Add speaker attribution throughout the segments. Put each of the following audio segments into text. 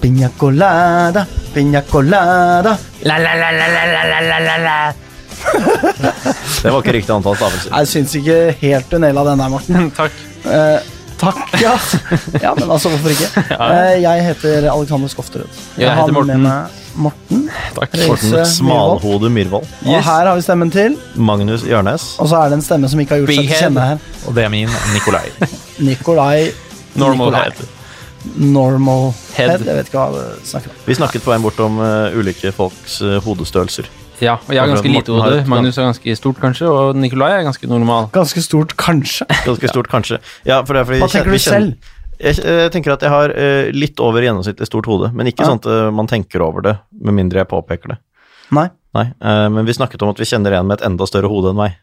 Speaker 1: Piña colada, piña colada.
Speaker 2: Det var ikke riktig antall stavelser.
Speaker 1: Jeg syns ikke helt du naila den der, Morten.
Speaker 3: Takk.
Speaker 1: Eh, takk, ja. ja. Men altså, hvorfor ikke? Eh, jeg heter Alexander Skofterud.
Speaker 3: Jeg
Speaker 1: har
Speaker 3: heter Morten.
Speaker 1: Med meg Morten.
Speaker 3: Takk.
Speaker 1: Reise
Speaker 2: Morten
Speaker 1: Myhrvold.
Speaker 2: Smalhode Myhrvold.
Speaker 1: Og her har vi stemmen til.
Speaker 2: Magnus Jørnes.
Speaker 1: Og så er det en stemme som ikke har gjort
Speaker 3: Big
Speaker 1: seg til
Speaker 3: head.
Speaker 1: kjenne her.
Speaker 3: Og det er min Nikolai.
Speaker 1: Nikolai
Speaker 3: Normal
Speaker 1: Nikolai.
Speaker 3: head.
Speaker 1: Normal
Speaker 3: Head.
Speaker 1: head. Jeg vet ikke hva du snakker om.
Speaker 2: Vi snakket på veien bort om eh, ulike folks eh, hodestørrelser.
Speaker 3: Ja, og jeg har ganske lite
Speaker 2: Morten har
Speaker 3: hode.
Speaker 2: et-
Speaker 3: Magnus er ganske stort, kanskje. Og Nikolai er ganske normal.
Speaker 1: Ganske stort, kanskje.
Speaker 2: Ganske stort, kanskje. Ja, for det er fordi
Speaker 1: Hva
Speaker 2: vi
Speaker 1: tenker du
Speaker 2: kjen- vi kjenner-
Speaker 1: selv?
Speaker 2: Jeg, eh, tenker at jeg har eh, litt over gjennomsnittlig stort hode, men ikke
Speaker 1: Ja.
Speaker 2: sånn at eh, man tenker over det, med mindre jeg påpeker det.
Speaker 1: Nei.
Speaker 2: Nei, eh, men vi snakket om at vi kjenner en med et enda større hode enn meg.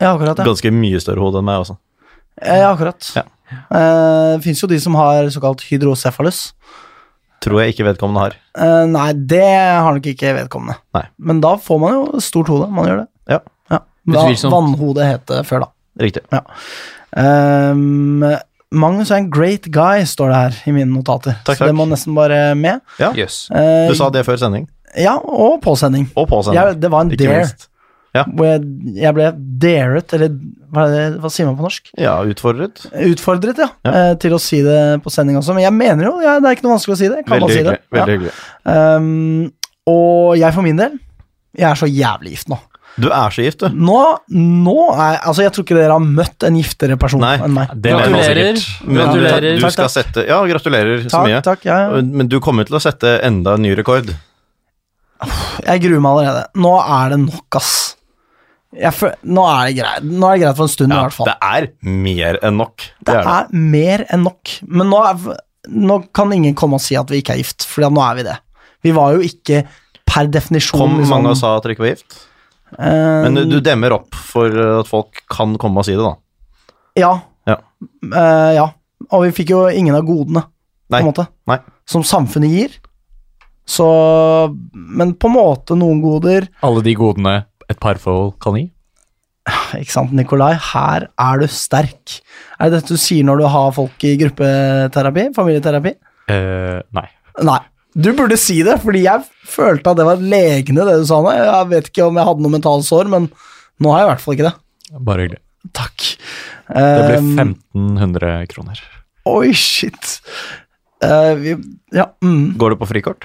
Speaker 1: Ja, akkurat. Ja.
Speaker 2: Ganske mye større hode enn meg altså. også.
Speaker 1: Ja, akkurat.
Speaker 2: Ja.
Speaker 1: Eh, det fins jo de som har såkalt hydrocefalus.
Speaker 2: Tror jeg ikke vedkommende har.
Speaker 1: Eh, nei, det har nok ikke vedkommende.
Speaker 2: Nei.
Speaker 1: Men da får man jo stort hode. Man gjør det.
Speaker 2: Ja,
Speaker 1: Ja. Da,
Speaker 3: Utvilsomt.
Speaker 1: vannhode het det før, da.
Speaker 2: riktig.
Speaker 1: Ehm, Magnus er en great guy, står det her i mine notater.
Speaker 2: Takk,
Speaker 1: Så det
Speaker 2: takk.
Speaker 1: må nesten bare med.
Speaker 2: Ja,
Speaker 3: Jøss.
Speaker 1: Eh,
Speaker 2: du sa det før sending.
Speaker 1: Ja, og påsending.
Speaker 2: Og på sending.
Speaker 1: Jeg, det var en
Speaker 2: Ikke
Speaker 1: dare.
Speaker 2: minst. Ja.
Speaker 1: Hvor jeg, jeg ble daret, eller hva, er det, hva sier man på norsk?
Speaker 2: Ja, utfordret.
Speaker 1: Utfordret, ja,
Speaker 2: Ja.
Speaker 1: eh, til å si det på sending også. Men jeg mener jo, ja, det er ikke noe vanskelig å si det. Kan
Speaker 2: Veldig
Speaker 1: man si
Speaker 2: hyggelig.
Speaker 1: det?
Speaker 2: Veldig hyggelig.
Speaker 1: Ja. Ehm, og jeg for min del, jeg er så jævlig gift nå.
Speaker 2: Du er så gift, du.
Speaker 1: Nå, nå er, altså Jeg tror ikke dere har møtt en giftere person
Speaker 2: Nei.
Speaker 1: enn meg.
Speaker 4: Det mener man
Speaker 3: Gratulerer.
Speaker 4: sikkert.
Speaker 2: Men du,
Speaker 3: Gratulerer.
Speaker 2: du skal sette Ja, gratulerer så
Speaker 1: Takk,
Speaker 2: mye.
Speaker 1: takk, ja, ja.
Speaker 2: Men du kommer til å sette enda en ny rekord.
Speaker 1: Jeg gruer meg allerede. Nå er det nok, ass. Jeg føl nå, er det greit. nå er det greit for en stund, i
Speaker 2: Ja,
Speaker 1: hvert fall.
Speaker 2: det er mer enn nok.
Speaker 1: Det er mer enn nok. Men nå, er, nå kan ingen komme og si at vi ikke er gift, for nå er vi det. Vi var jo ikke per definisjon
Speaker 2: Kom
Speaker 1: liksom,
Speaker 2: mange og sa at dere ikke var gift?
Speaker 1: eh,
Speaker 2: Men du demmer opp for at folk kan komme og si det, da.
Speaker 1: ja,
Speaker 2: Ja.
Speaker 1: Eh, ja. Og vi fikk jo ingen av godene,
Speaker 2: Nei.
Speaker 1: på en måte.
Speaker 2: Nei.
Speaker 1: Som samfunnet gir. Så Men på en måte noen goder.
Speaker 4: Alle de godene et parforhold kan gi.
Speaker 1: Ikke sant, Nikolai? Her er du sterk. Er det dette du sier når du har folk i gruppeterapi? Familieterapi?
Speaker 4: Eh, nei.
Speaker 1: Nei. Du burde si det, fordi jeg følte at det var legende, det du sa nå. Jeg vet ikke om jeg hadde noe mentalsår, men nå har jeg i hvert fall ikke det.
Speaker 4: Bare hyggelig.
Speaker 1: Takk.
Speaker 4: Det blir
Speaker 1: Ehm,
Speaker 4: 1500 kroner.
Speaker 1: Oi, shit. Eh, vi, ja, mm.
Speaker 2: Går du på frikort?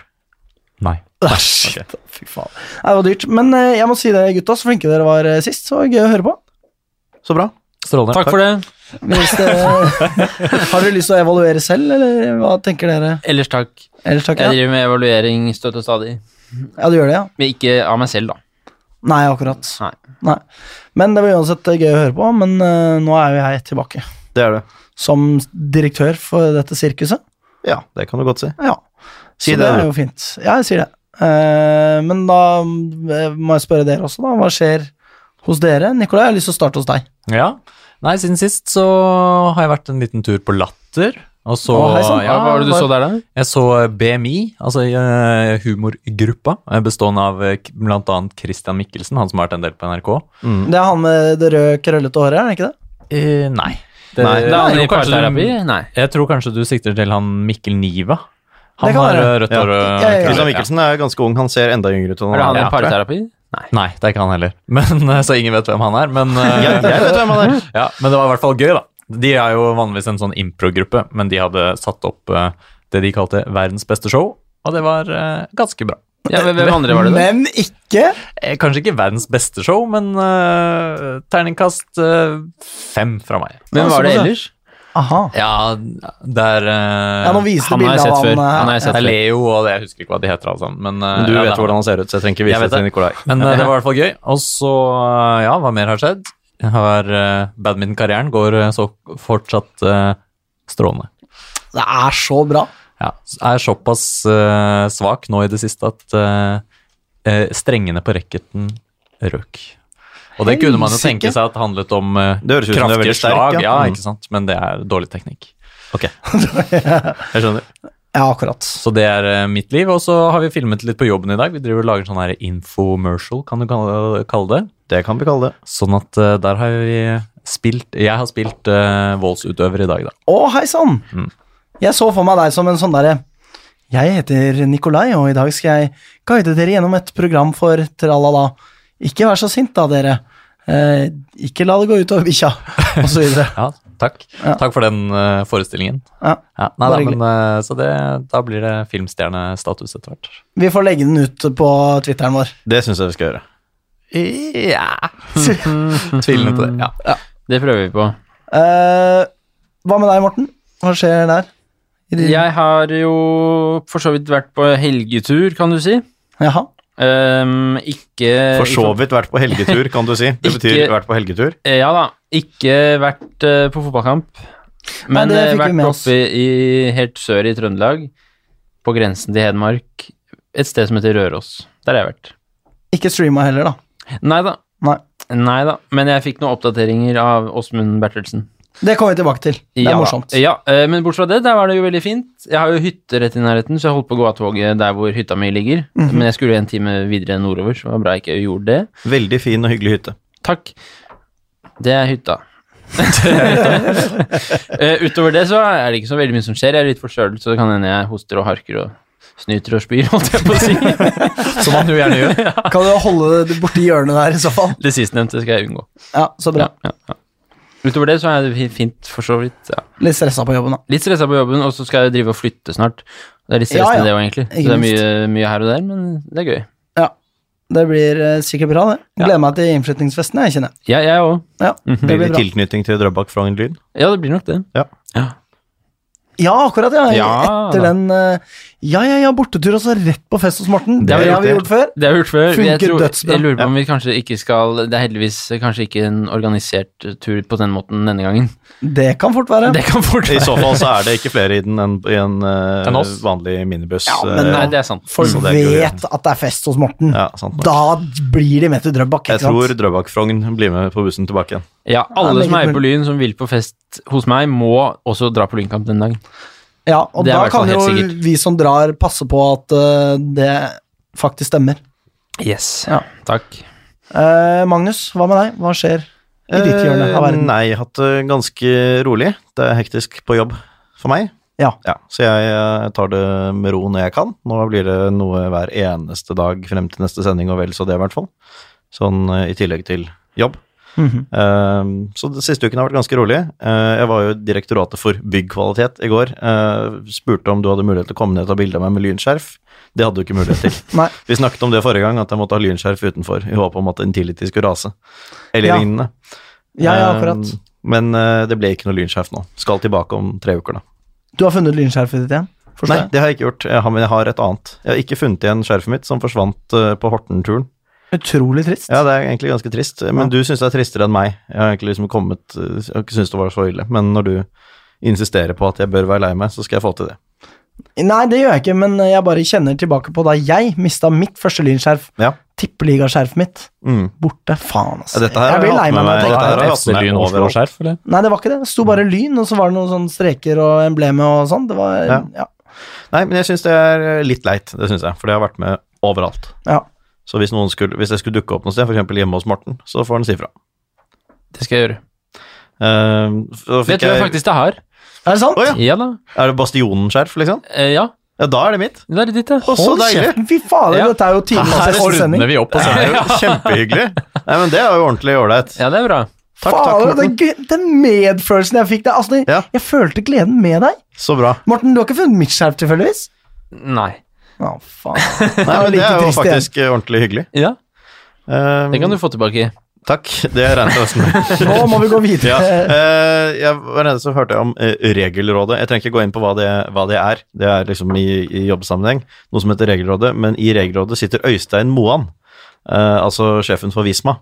Speaker 4: Nei.
Speaker 1: Ah, shit. Fy faen. Nei, det var dyrt. Men eh, jeg må si det, gutta, så flinke dere var eh, sist. Så gøy å høre på.
Speaker 2: Så bra.
Speaker 4: Strålende.
Speaker 3: Takk for det.
Speaker 1: Hvis det, har dere lyst til å evaluere selv, eller hva tenker dere?
Speaker 3: Ellers takk.
Speaker 1: Ellers takk,
Speaker 3: Jeg
Speaker 1: ja.
Speaker 3: driver med evaluering støtt og stadig.
Speaker 1: ja, du gjør det, ja.
Speaker 3: Men ikke av meg selv, da.
Speaker 1: Nei, akkurat.
Speaker 3: Nei.
Speaker 1: Men det var uansett gøy å høre på, men eh, nå er jo jeg tilbake
Speaker 2: Det er du.
Speaker 1: som direktør for dette sirkuset.
Speaker 2: Ja, det kan du godt si.
Speaker 1: Ja.
Speaker 2: Si
Speaker 1: Så
Speaker 2: det,
Speaker 1: det
Speaker 2: du.
Speaker 1: er jo fint. Ja, jeg sier det. Eh, men da eh, må jeg spørre dere også, da. Hva skjer hos dere? Nikolai, jeg har lyst til å starte hos deg.
Speaker 4: Ja. Nei, siden sist så har jeg vært en liten tur på Latter. Og så
Speaker 1: Å, hei sann.
Speaker 4: ja,
Speaker 3: Ja, hva var det du
Speaker 4: bare-
Speaker 3: så der, da?
Speaker 4: Jeg så BMI, altså eh, humorgruppa, eh, bestående av eh, k- blant annet Christian Mikkelsen, han som har vært en del på NRK.
Speaker 1: Det er han med det røde, krøllete håret, er det ikke det?
Speaker 4: Eh, nei. Det,
Speaker 2: Nei.
Speaker 3: Det er han i
Speaker 4: jo kanskje-
Speaker 3: parterapi? Nei.
Speaker 4: Jeg tror kanskje du sikter til han Mikkel Niva. Han
Speaker 1: Det kan
Speaker 4: har
Speaker 1: være.
Speaker 4: eh, rødt
Speaker 2: Ja.
Speaker 4: hår. og-
Speaker 1: Ja, ja, ja.
Speaker 2: Christian Mikkelsen er ganske ung. Han ser enda yngre ut enn
Speaker 3: Er det
Speaker 2: han
Speaker 3: han
Speaker 2: er.
Speaker 3: i
Speaker 4: Ja.
Speaker 3: parterapi?
Speaker 4: Nei, det er ikke han heller. Men, eh, så ingen vet hvem han er. Men, eh,
Speaker 2: Jeg, jeg vet hvem han er.
Speaker 4: Ja, men det var i hvert fall gøy, da. De er jo vanligvis en sånn improgruppe, men de hadde satt opp eh, det de kalte verdens beste show, og det var eh, ganske bra.
Speaker 3: Ja, hvem hvem andre var det, da?
Speaker 1: Men ikke
Speaker 4: Eh, Kanskje ikke verdens beste show, men eh, terningkast eh, fem fra meg.
Speaker 3: Hvem var det
Speaker 1: Ja, sånn,
Speaker 3: ellers?
Speaker 1: Aha.
Speaker 4: Ja, det er
Speaker 2: eh,
Speaker 1: Ja, nå viste
Speaker 3: Han har
Speaker 1: bildet
Speaker 3: jeg
Speaker 1: av
Speaker 3: sett før.
Speaker 1: eh,
Speaker 3: Han har jeg
Speaker 4: Det
Speaker 3: sett
Speaker 4: er
Speaker 3: før.
Speaker 4: Leo, og det, jeg husker ikke hva de heter alle sammen. Men, eh,
Speaker 2: Men du
Speaker 4: ja, det
Speaker 2: vet
Speaker 4: er
Speaker 2: hvordan han ser ut, så jeg trenger ikke
Speaker 4: Jeg
Speaker 2: vise
Speaker 4: vet
Speaker 2: det til
Speaker 4: det.
Speaker 2: Nikolai.
Speaker 4: Men eh, det var i hvert fall gøy. Og så, eh, ja, hva mer har skjedd? Jeg Har eh, Badmintonkarrieren går eh, så fortsatt eh, strålende.
Speaker 1: eh, Det er så bra.
Speaker 4: Ja, er såpass eh, svak nå i det siste at eh, eh, strengene på racketen røk. Og det kunne man jo
Speaker 1: Helsike.
Speaker 4: tenke seg at handlet om eh,
Speaker 2: Det høres ut som du er
Speaker 4: kraftige
Speaker 2: veldig sterk,
Speaker 4: slag,
Speaker 2: ja.
Speaker 4: ja,
Speaker 2: Mm.
Speaker 4: ikke sant? men det er dårlig teknikk.
Speaker 2: Jeg skjønner.
Speaker 1: Ja, akkurat.
Speaker 4: Så det er eh, mitt liv, og så har vi filmet litt på jobben i dag. Vi driver og lager sånn her infomercial, kan du kalle kalle det.
Speaker 2: Det kan vi kalle det.
Speaker 4: Sånn at eh, der har vi spilt Jeg har spilt eh, voldsutøver i dag, da.
Speaker 3: Mm.
Speaker 1: Å, hei sann! Jeg så for meg deg som en sånn derre Jeg heter Nikolai, og i dag skal jeg guide dere gjennom et program for tralala. Ikke vær så sint da, dere. Eh, ikke la det gå ut over bikkja, og så videre.
Speaker 4: Ja, takk.
Speaker 1: Ja.
Speaker 4: Takk for den eh, forestillingen.
Speaker 1: Ja.
Speaker 4: Ja, nei,
Speaker 1: Bare
Speaker 4: da, men, eh, så det, da blir det filmstjernestatus etter hvert.
Speaker 1: Vi får legge den ut på Twitteren vår.
Speaker 2: Det syns jeg vi skal gjøre.
Speaker 4: Ja Tvilende på det. Ja.
Speaker 3: Det prøver vi på.
Speaker 1: Eh, hva med deg, Morten? Hva skjer der? I din-
Speaker 3: Jeg har jo for så vidt vært på helgetur, kan du si.
Speaker 1: Jaha.
Speaker 3: Ehm, ikke
Speaker 2: For så vidt vært på helgetur, kan du si. Det betyr
Speaker 3: Ikke-
Speaker 2: vært på helgetur.
Speaker 3: Eh, Ja da. Ikke vært eh, på fotballkamp, men
Speaker 1: det
Speaker 3: eh,
Speaker 1: fikk vi
Speaker 3: vært
Speaker 1: med oss.
Speaker 3: oppe i, i helt sør i Trøndelag, på grensen til Hedmark, et sted som heter Røros. Der har jeg vært.
Speaker 1: Ikke streama heller, da.
Speaker 3: Nei da.
Speaker 1: Nei.
Speaker 3: Nei da. Men jeg fikk noen oppdateringer av Åsmund Bertelsen.
Speaker 1: Det kommer vi tilbake til. Det er
Speaker 3: Ja da.
Speaker 1: morsomt.
Speaker 3: Ja, eh, men bortsett fra det, der var det jo veldig fint. Jeg har jo hytte rett i nærheten, så jeg holdt på å gå av toget der hvor hytta mi ligger.
Speaker 4: Mhm.
Speaker 3: Men jeg skulle jo en time videre nordover, så det var bra jeg ikke gjorde det.
Speaker 2: Veldig fin og hyggelig hytte.
Speaker 3: Takk. Det er hytta. Eh, Utover det så er det ikke så veldig mye som skjer. Jeg er litt forkjølet, så det kan hende jeg hoster og harker og snyter og spyr, holdt jeg på å si.
Speaker 4: Som man jo gjerne gjør.
Speaker 1: Kan du holde det borti hjørnet der, i så fall?
Speaker 3: Det sistnevnte skal jeg unngå.
Speaker 1: Ja, så bra.
Speaker 3: Ja, ja, ja. Utover det så er det fi- fint, for så vidt. Ja.
Speaker 1: Litt stressa på jobben, da.
Speaker 3: Litt stressa på jobben, og så skal jeg drive og flytte snart. Det er litt
Speaker 1: Ja,
Speaker 3: stressende,
Speaker 1: ja.
Speaker 3: det òg, egentlig. Så
Speaker 1: Ikke
Speaker 3: det er mye, mye her og der, men det er gøy.
Speaker 1: Ja. Det blir eh, sikkert bra, det.
Speaker 3: Ja.
Speaker 1: Gleder meg til innflyttingsfesten, jeg kjenner jeg.
Speaker 3: Ja, jeg òg.
Speaker 1: Ja, det
Speaker 2: Blir
Speaker 1: blir
Speaker 2: det
Speaker 1: bra.
Speaker 2: tilknytning til Drøbak fra en lyd?
Speaker 3: Ja, det blir nok det.
Speaker 2: Ja.
Speaker 1: Ja, akkurat, ja.
Speaker 3: Ja,
Speaker 1: Etter
Speaker 3: da.
Speaker 1: den eh, Ja, ja, ja, bortetur, og så rett på fest hos Morten.
Speaker 2: Det
Speaker 1: Det,
Speaker 2: har vi
Speaker 1: har vi
Speaker 2: gjort,
Speaker 1: gjort før.
Speaker 3: Det har vi gjort før. Jeg,
Speaker 1: Funker
Speaker 3: tror,
Speaker 1: dødsbra.
Speaker 3: jeg lurer på om vi kanskje ikke skal Det er heldigvis kanskje ikke en organisert tur på den måten denne gangen.
Speaker 1: Det kan fort være.
Speaker 3: Det kan fort
Speaker 2: I så fall så er det ikke flere i den enn i en eh,
Speaker 4: Enn oss?
Speaker 2: vanlig minibuss.
Speaker 1: Ja, men
Speaker 2: eh,
Speaker 3: Nei, det er sant.
Speaker 1: Folk
Speaker 2: Mm, det er gøy.
Speaker 1: vet at det er fest hos Morten.
Speaker 2: ja, sant nok.
Speaker 1: Da blir de med til Drøbak.
Speaker 2: Jeg
Speaker 1: Ikke sant?
Speaker 2: tror Drøbak-Frogn blir med på bussen tilbake igjen.
Speaker 3: Ja,
Speaker 1: Ja,
Speaker 3: alle som
Speaker 1: meget
Speaker 3: er på Lyn, som vil på fest hos meg, må også dra på Lynkamp den dagen.
Speaker 1: Ja, og
Speaker 3: Det er i
Speaker 1: da
Speaker 3: hvert fall
Speaker 1: kan jo
Speaker 3: helt sikkert.
Speaker 1: vi som drar, passe på at eh, det faktisk stemmer.
Speaker 3: Yes.
Speaker 1: Ja.
Speaker 3: Takk.
Speaker 1: Eh, Magnus, hva med deg? Hva skjer i ditt hjørne av
Speaker 2: Eh,
Speaker 1: verden?
Speaker 2: Nei, jeg har hatt det ganske rolig. Det er hektisk på jobb for meg.
Speaker 1: Ja.
Speaker 2: så jeg eh, tar det med ro når jeg kan. Nå blir det noe hver eneste dag frem til neste sending, og vel så det, i hvert fall. Sånn eh, i tillegg til jobb.
Speaker 1: Mhm.
Speaker 2: Ehm, Så den siste uken har vært ganske rolig. Eh, Jeg var jo i Direktoratet for byggkvalitet i går. eh, Spurte om du hadde mulighet til å komme ned og ta bilde av meg med lynskjerf. Det hadde du ikke mulighet til.
Speaker 1: Nei.
Speaker 2: Vi snakket om det forrige gang, at jeg måtte ha lynskjerf utenfor i håp om at Intility skulle rase. Eller
Speaker 1: Ja.
Speaker 2: lignende.
Speaker 1: Ja, ja, akkurat.
Speaker 2: Eh, Men eh, det ble ikke noe lynskjerf nå. Skal tilbake om tre uker, da.
Speaker 1: Du har funnet lynskjerfet ditt igjen? Forstår
Speaker 2: Nei,
Speaker 1: jeg.
Speaker 2: det har jeg ikke gjort. Jeg har, men jeg har et annet. Jeg har ikke funnet igjen skjerfet mitt, som forsvant eh, på Horten-turen.
Speaker 1: Utrolig trist.
Speaker 2: Ja, det er egentlig ganske trist, eh, men du syns det er tristere enn meg. Jeg har egentlig liksom kommet eh, Jeg har ikke syntes det var så ille, men når du insisterer på at jeg bør være lei meg, så skal jeg få til det.
Speaker 1: Nei, det gjør jeg ikke, men jeg bare kjenner tilbake på da jeg mista mitt første lynskjerf.
Speaker 2: Ja.
Speaker 1: Tippeligaskjerfet mitt.
Speaker 2: Mm.
Speaker 1: Borte. Faen, altså.
Speaker 2: Ja, dette her
Speaker 1: jeg
Speaker 2: har
Speaker 1: blir
Speaker 2: jeg
Speaker 1: lei meg
Speaker 2: hatt med
Speaker 1: når jeg
Speaker 2: meg.
Speaker 1: tenker på
Speaker 2: Dette her
Speaker 1: det.
Speaker 2: har jeg hatt med
Speaker 4: Lyn
Speaker 2: overalt.
Speaker 4: Oslo-skjerf, eller?
Speaker 1: Nei, det var ikke det. Det sto bare lyn, og så var det noen sånne streker og emblemer og sånn. Det var Ja.
Speaker 2: Ja.
Speaker 1: ja.
Speaker 2: Nei, men jeg syns det er eh, litt leit, det syns jeg, for det har vært med overalt.
Speaker 1: ja.
Speaker 2: Så hvis, noen skulle, hvis jeg skulle dukke opp noe sted, f.eks. hjemme hos Morten, så får han si fra.
Speaker 3: Det skal jeg gjøre.
Speaker 2: Eh, så
Speaker 3: Det
Speaker 2: fikk
Speaker 3: tror jeg
Speaker 2: jeg,
Speaker 3: faktisk det har.
Speaker 1: Er det sant?
Speaker 2: Å, ja.
Speaker 3: Ja da.
Speaker 2: er det Bastionen-skjerf, liksom?
Speaker 3: Eh, ja,
Speaker 2: Ja, da er det mitt.
Speaker 3: det er ditt, ja.
Speaker 2: Å, så deilig!
Speaker 1: Fy fader,
Speaker 3: Ja.
Speaker 1: dette er jo tidenes
Speaker 4: Her
Speaker 1: beste sending.
Speaker 4: ordner vi opp.
Speaker 2: Det
Speaker 4: Altså.
Speaker 2: er jo kjempehyggelig. Nei, men det er jo ordentlig ålreit.
Speaker 3: Ja, det er bra.
Speaker 2: Takk, takk,
Speaker 1: Fader,
Speaker 2: Morten.
Speaker 1: den, den medfølelsen jeg fikk der. Altså, det-
Speaker 2: Ja.
Speaker 1: Jeg følte gleden med deg.
Speaker 2: Så bra.
Speaker 1: Morten, du har ikke funnet mitt skjerf tilfeldigvis?
Speaker 3: Nei.
Speaker 1: Å, faen.
Speaker 2: Nei, men det
Speaker 1: like
Speaker 2: er jo
Speaker 1: trist igjen.
Speaker 2: faktisk eh, ordentlig hyggelig.
Speaker 3: Ja,
Speaker 2: Eh,
Speaker 3: det kan
Speaker 1: Mm.
Speaker 3: du få tilbake.
Speaker 2: Takk, det regnet jeg også med.
Speaker 1: Nå må vi gå
Speaker 2: Ja.
Speaker 1: videre.
Speaker 2: eh, jeg var nede så hørte jeg om eh, Regelrådet. Jeg trenger ikke gå inn på hva det, hva det er. Det er liksom i, i jobbsammenheng noe som heter Regelrådet, men i Regelrådet sitter Øystein Moan, eh, altså sjefen for Visma.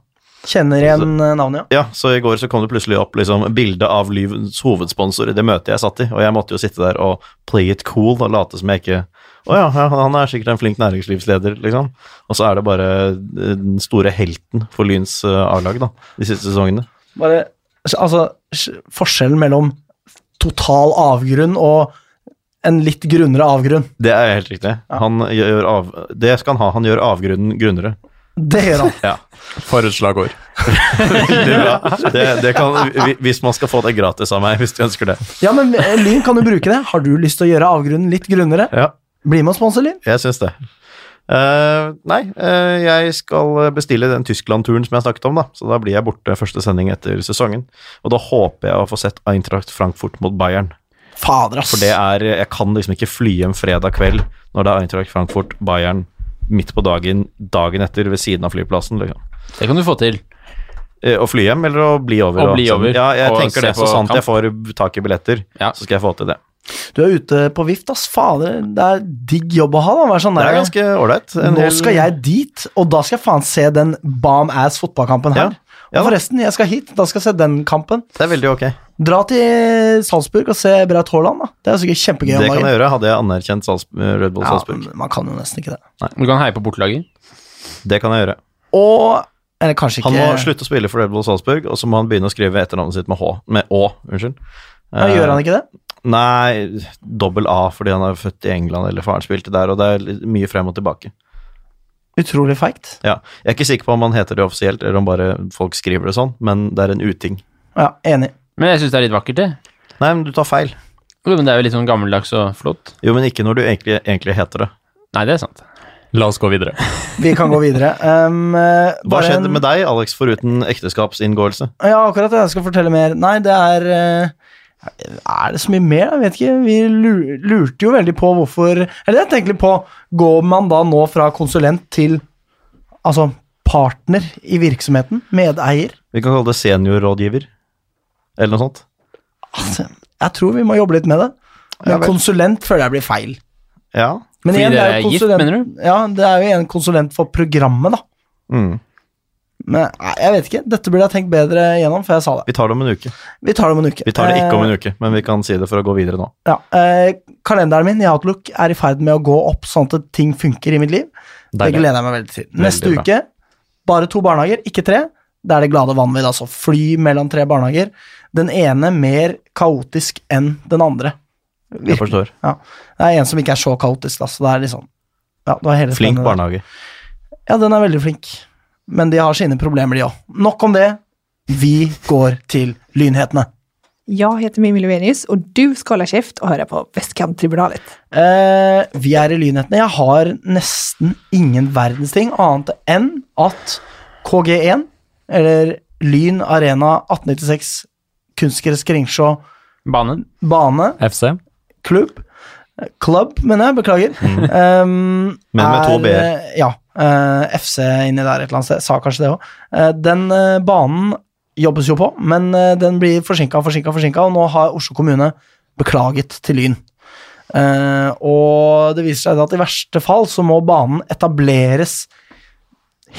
Speaker 1: Kjenner igjen eh, navnet, ja.
Speaker 2: Ja, så i går så kom det plutselig opp liksom, bilde av Lyvens hovedsponsor i det møtet jeg satt i, og jeg måtte jo sitte der og play it cool og late som jeg ikke Å ja, ja, han er sikkert en flink næringslivsleder, liksom. Og så er det bare eh, den store helten for Lyns eh, A-lag, da, de siste sesongene.
Speaker 1: Bare, altså, s- forskjellen mellom total avgrunn og en litt grunnere avgrunn.
Speaker 2: Det er helt riktig. Han gjør av, det skal han ha. Han gjør avgrunnen grunnere.
Speaker 1: Det gjør han.
Speaker 4: For et slagord.
Speaker 2: Veldig bra. Det, det kan, vi- hvis man skal få det gratis av meg, hvis du ønsker det.
Speaker 1: Ja, men eh, Lyn kan jo bruke det. Har du lyst til å gjøre avgrunnen litt grunnere?
Speaker 2: Ja.
Speaker 1: Bli med og sponse, Liv.
Speaker 2: Jeg syns det. Eh, nei, eh, jeg skal bestille den Tyskland-turen som jeg snakket om, da. Så da blir jeg borte første sending etter sesongen. Og da håper jeg å få sett Eintracht Frankfurt mot Bayern.
Speaker 1: Fader, ass.
Speaker 2: For det er Jeg kan liksom ikke fly hjem fredag kveld når det er Eintracht Frankfurt, Bayern midt på dagen dagen etter ved siden av flyplassen, liksom.
Speaker 3: Det kan du få til.
Speaker 2: Eh, Å fly hjem, eller å bli over?
Speaker 3: Å bli
Speaker 2: sånn.
Speaker 3: over,
Speaker 2: Ja, jeg
Speaker 3: og
Speaker 2: tenker
Speaker 3: se
Speaker 2: det. Så
Speaker 3: på
Speaker 2: sant
Speaker 3: kamp.
Speaker 2: jeg får tak i billetter,
Speaker 3: Ja.
Speaker 2: så skal jeg få til det.
Speaker 1: Du er ute på vift, ass. Fader, det er digg jobb å ha. da. Vær sånn
Speaker 2: Det er
Speaker 1: der.
Speaker 2: ganske ålreit. En
Speaker 1: Nå
Speaker 2: hel-
Speaker 1: skal jeg dit, og da skal jeg faen se den bam ass fotballkampen her.
Speaker 2: Ja. Ja
Speaker 1: og
Speaker 2: da.
Speaker 1: forresten, jeg skal hit, da skal jeg se den kampen.
Speaker 2: Det er veldig ok.
Speaker 1: Dra til Salzburg og se Braut Haaland, da. Det er sikkert kjempegøy. om
Speaker 2: Det kan
Speaker 1: dagen.
Speaker 2: jeg gjøre. Hadde jeg anerkjent Salz Red Bull Salzburg.
Speaker 1: Ja, men man kan jo nesten ikke det.
Speaker 3: Du kan heie på bortelaget.
Speaker 2: Det kan jeg gjøre.
Speaker 1: Og Eller kanskje ikke
Speaker 2: Han må slutte å spille for Red Bull Salzburg, og så må han begynne å skrive etternavnet sitt med H. Med Å, unnskyld.
Speaker 1: Ja,
Speaker 2: Eh,
Speaker 1: gjør han ikke det?
Speaker 2: Nei, dobbel A fordi han er født i England, eller faren spilte der, og det er litt mye frem og tilbake.
Speaker 1: Utrolig feigt.
Speaker 2: Ja. Jeg er ikke sikker på om han heter det offisielt, eller om bare folk skriver det sånn, men det er en uting.
Speaker 1: Ja, enig.
Speaker 3: Men jeg syns det er litt vakkert, det.
Speaker 2: Nei, men du tar feil.
Speaker 3: Jo, men det er jo litt sånn gammeldags og flott.
Speaker 2: Jo, men ikke når du egentlig, egentlig heter det.
Speaker 3: Nei, det er sant.
Speaker 4: La oss gå videre.
Speaker 1: Vi kan gå videre. Um, eh,
Speaker 2: Hva
Speaker 1: bare
Speaker 2: skjedde
Speaker 1: en-
Speaker 2: med deg, Alex, foruten ekteskapsinngåelse?
Speaker 1: Ja, akkurat det. Jeg skal fortelle mer. Nei, det er eh, Er det så mye mer? Jeg vet ikke. Vi lu- lurte jo veldig på hvorfor Eller jeg tenker litt på Går man da nå fra konsulent til altså partner i virksomheten? Medeier?
Speaker 2: Vi kan kalle det seniorrådgiver, eller noe sånt.
Speaker 1: Altså, jeg tror vi må jobbe litt med det.
Speaker 2: Ja
Speaker 1: Men
Speaker 2: vel.
Speaker 1: konsulent føler jeg blir feil.
Speaker 2: Ja.
Speaker 1: Men
Speaker 3: Fordi
Speaker 1: igjen, det
Speaker 3: dere
Speaker 1: er
Speaker 3: er
Speaker 1: jo
Speaker 3: gift,
Speaker 1: konsulent,
Speaker 3: mener du?
Speaker 1: Ja, det er jo en konsulent for programmet, da.
Speaker 2: Mm.
Speaker 1: Men nei, jeg vet ikke. Dette burde jeg tenkt bedre gjennom før jeg sa det.
Speaker 2: Vi tar det om en uke.
Speaker 1: Vi tar det om en uke.
Speaker 2: Vi tar det ikke om
Speaker 1: Eh,
Speaker 2: en uke, men vi kan si det for å gå videre nå.
Speaker 1: Ja, eh, kalenderen min i Outlook er i ferd med å gå opp, sånn at ting funker i mitt liv. Det
Speaker 4: Deilig.
Speaker 1: gleder jeg meg veldig til. Neste
Speaker 2: bra.
Speaker 1: uke, bare to barnehager, ikke tre. Det er det glade vanvidd, altså. Fly mellom tre barnehager. Den ene mer kaotisk enn den andre.
Speaker 2: Jeg forstår.
Speaker 1: Ja. Det er en som ikke er så kaotisk, da, så det er liksom ja, det var hele
Speaker 2: Flink
Speaker 1: spennende.
Speaker 2: barnehage.
Speaker 1: Ja, den er veldig flink. Men de har sine problemer, de òg. Nok om det. Vi går til lynhetene.
Speaker 5: Jeg heter Mimmi Lovenius, og du skal holde kjeft og høre på Vestkanttribunalet.
Speaker 1: Eh, vi er i Lynhetene. Jeg har nesten ingen verdens ting annet enn at KG1, eller Lyn Arena 1896 Kunstgress Kringsjå
Speaker 3: Banen.
Speaker 1: bane,
Speaker 4: FC.
Speaker 1: klubb eh, Club, mener jeg. Beklager. Um,
Speaker 2: Mm. Men med to
Speaker 1: er,
Speaker 2: B-er.
Speaker 1: eh, Ja. eh, FC inni der et eller annet sted. Sa kanskje det òg. den eh, banen jobbes jo på, men eh, den blir forsinka, forsinka, forsinka, og nå har Oslo kommune beklaget til Lyn. Eh, og det viser seg at i verste fall så må banen etableres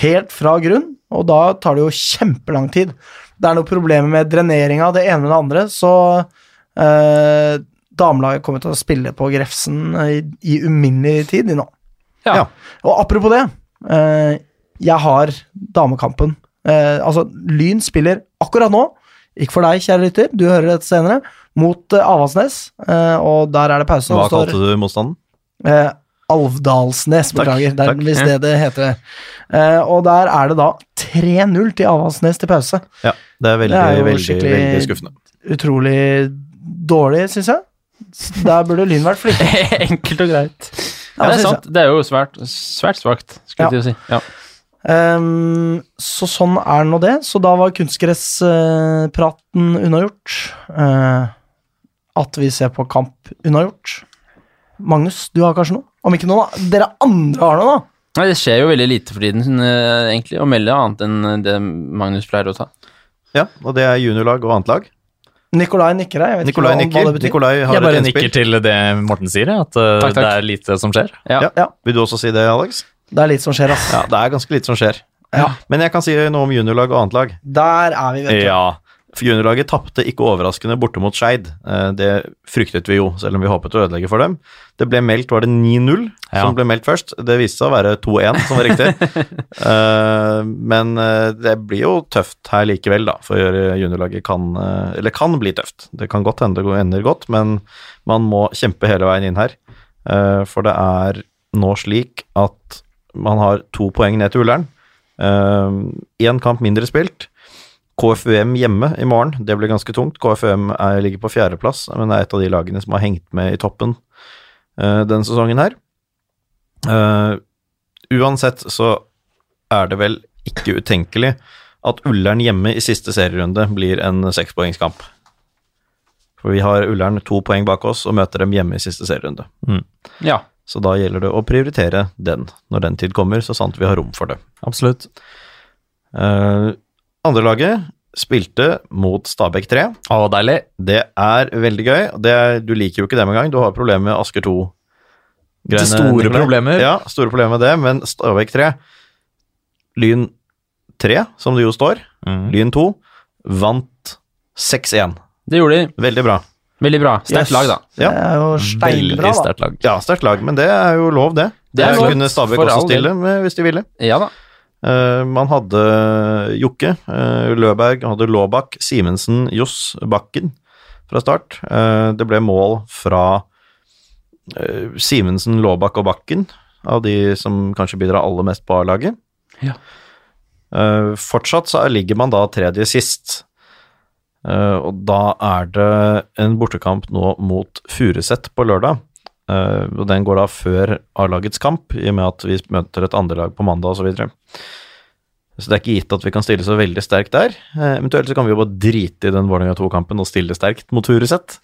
Speaker 1: helt fra grunn, og da tar det jo kjempelang tid. Det er noen problemer med dreneringa, det ene med det andre, så eh, damelaget kommer til å spille på Grefsen eh, i, i uminnelig tid de nå.
Speaker 3: Ja.
Speaker 2: Ja.
Speaker 1: Og apropos det, eh, jeg har damekampen. Eh, altså, Lyn spiller akkurat nå, ikke for deg, kjære lytter, du hører dette senere, mot eh, Avaldsnes, eh, og der er det pause.
Speaker 2: Hva
Speaker 1: og står-
Speaker 2: kalte du motstanden?
Speaker 1: Eh, Alvdalsnes,
Speaker 2: Takk,
Speaker 1: beklager. Det er
Speaker 2: takk.
Speaker 1: visst det det heter. Eh, og der er det da 3-0 til Avaldsnes til pause.
Speaker 2: Ja, det er veldig,
Speaker 1: Det er jo
Speaker 2: veldig,
Speaker 1: skikkelig-
Speaker 2: veldig skuffende.
Speaker 1: Utrolig dårlig, syns jeg. Der burde Lyn vært flinke.
Speaker 3: Enkelt og greit. Ja,
Speaker 1: Ja,
Speaker 3: det er
Speaker 1: synes
Speaker 3: sant. Det er jo svært, svært svakt, skulle jeg til å si. Ja.
Speaker 1: Ehm, så sånn er nå det. Så da var kunstgresspraten unnagjort. Eh, at vi ser på kamp unnagjort. Magnus, du har kanskje noe? Om ikke noe, da. Dere andre har noe, da?
Speaker 3: Nei, det skjer jo veldig lite for tiden, eh, egentlig, å melde annet enn det Magnus pleier å ta.
Speaker 2: Ja, og det er juniorlag og annet lag.
Speaker 1: Nikolai nikker her. Jeg vet
Speaker 2: Nikolai
Speaker 1: ikke hva,
Speaker 2: nikker.
Speaker 1: hva det betyr.
Speaker 2: Nikolai har
Speaker 4: Jeg bare
Speaker 2: et
Speaker 4: nikker
Speaker 2: innspill.
Speaker 4: til det Morten sier, ja, at eh,
Speaker 3: Takk, takk.
Speaker 4: det er lite som skjer.
Speaker 3: Ja.
Speaker 2: Ja. Vil du også si det, Alex?
Speaker 1: Det er litt som skjer, ass.
Speaker 2: Ja, det er ganske lite som skjer.
Speaker 1: Ja.
Speaker 2: Men jeg kan si noe om juniorlag og annet lag.
Speaker 1: Der er vi, vet du.
Speaker 2: Ja. For Juniorlaget tapte ikke overraskende borte mot Skeid. Eh, Det fryktet vi jo, selv om vi håpet å ødelegge for dem. Det ble meldt, var det 9-0
Speaker 4: Ja.
Speaker 2: som ble meldt først? Det viste seg å være 2-1 som var riktig. Eh, Men eh, det blir jo tøft her likevel, da. For juniorlaget kan eh, Eller kan bli tøft. Det kan godt hende det går- ender godt, men man må kjempe hele veien inn her. Eh, For det er nå slik at man har to poeng ned til Ullern. Én kamp mindre spilt. KFUM hjemme i morgen, det blir ganske tungt. KFUM er, ligger på fjerdeplass, men er et av de lagene som har hengt med i toppen eh, denne sesongen her. Eh, uansett så er det vel ikke utenkelig at Ullern hjemme i siste serierunde blir en sekspoengskamp. For vi har Ullern to poeng bak oss og møter dem hjemme i siste serierunde.
Speaker 3: Ja.
Speaker 2: Så da gjelder det å prioritere den når den tid kommer, så sant vi har rom for det.
Speaker 4: Absolutt.
Speaker 2: Uh, Andrelaget spilte mot Stabæk 3.
Speaker 4: Å, deilig.
Speaker 2: Det er veldig gøy. Det er, du liker jo ikke det med en gang. Du har problemer med Asker 2.
Speaker 4: Det er store problemer.
Speaker 2: Ja, store problemer med det, men Stabæk 3 Lyn 3, som det jo står,
Speaker 4: Mm.
Speaker 2: Lyn 2, vant 6-1.
Speaker 3: Det gjorde de.
Speaker 2: Veldig bra.
Speaker 3: Veldig bra.
Speaker 1: Yes.
Speaker 3: Sterkt lag, da.
Speaker 2: Ja.
Speaker 1: Det er jo steinbra,
Speaker 4: Veldig
Speaker 1: da.
Speaker 4: sterkt lag.
Speaker 2: Ja, sterkt lag, men det er jo lov, det.
Speaker 3: Det er
Speaker 2: Der
Speaker 3: lov,
Speaker 2: kunne Stabæk
Speaker 3: for
Speaker 2: også
Speaker 3: all del.
Speaker 2: stille med, hvis de ville.
Speaker 3: Ja da.
Speaker 2: Eh, man hadde Jokke, eh, Løberg, man hadde Laabak, Simensen, Johs, Bakken fra start. Eh, det ble mål fra eh, Simensen, Laabak og Bakken, av de som kanskje bidrar aller mest på A-laget.
Speaker 3: Ja.
Speaker 2: Eh, fortsatt så ligger man da tredje sist. Eh, og da er det en bortekamp nå mot Furuset på lørdag. Eh, og den går da før A-lagets kamp, i og med at vi møter et andrelag på mandag osv. Så, videre. så det er ikke gitt at vi kan stille så veldig sterkt der. Eh, eventuelt så kan vi jo bare drite i den Vålerenga 2-kampen og stille sterkt mot Furuset.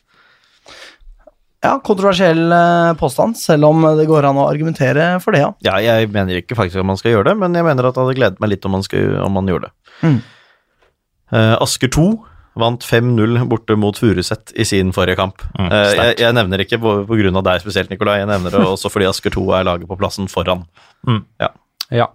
Speaker 1: Ja, kontroversiell eh, påstand, selv om det går an å argumentere for det, ja.
Speaker 2: Ja, jeg mener ikke faktisk at man skal gjøre det, men jeg mener at det hadde gledet meg litt om man, skulle, om man gjorde det.
Speaker 1: Mm.
Speaker 2: Eh, Asker 2 vant 5-0 borte mot Furuset i sin forrige kamp. Eh,
Speaker 4: Mm, sterkt.
Speaker 2: jeg, jeg nevner ikke på, på grunn av deg spesielt, Nikolai, jeg nevner det også fordi Asker 2 er laget på plassen foran.
Speaker 3: Ja.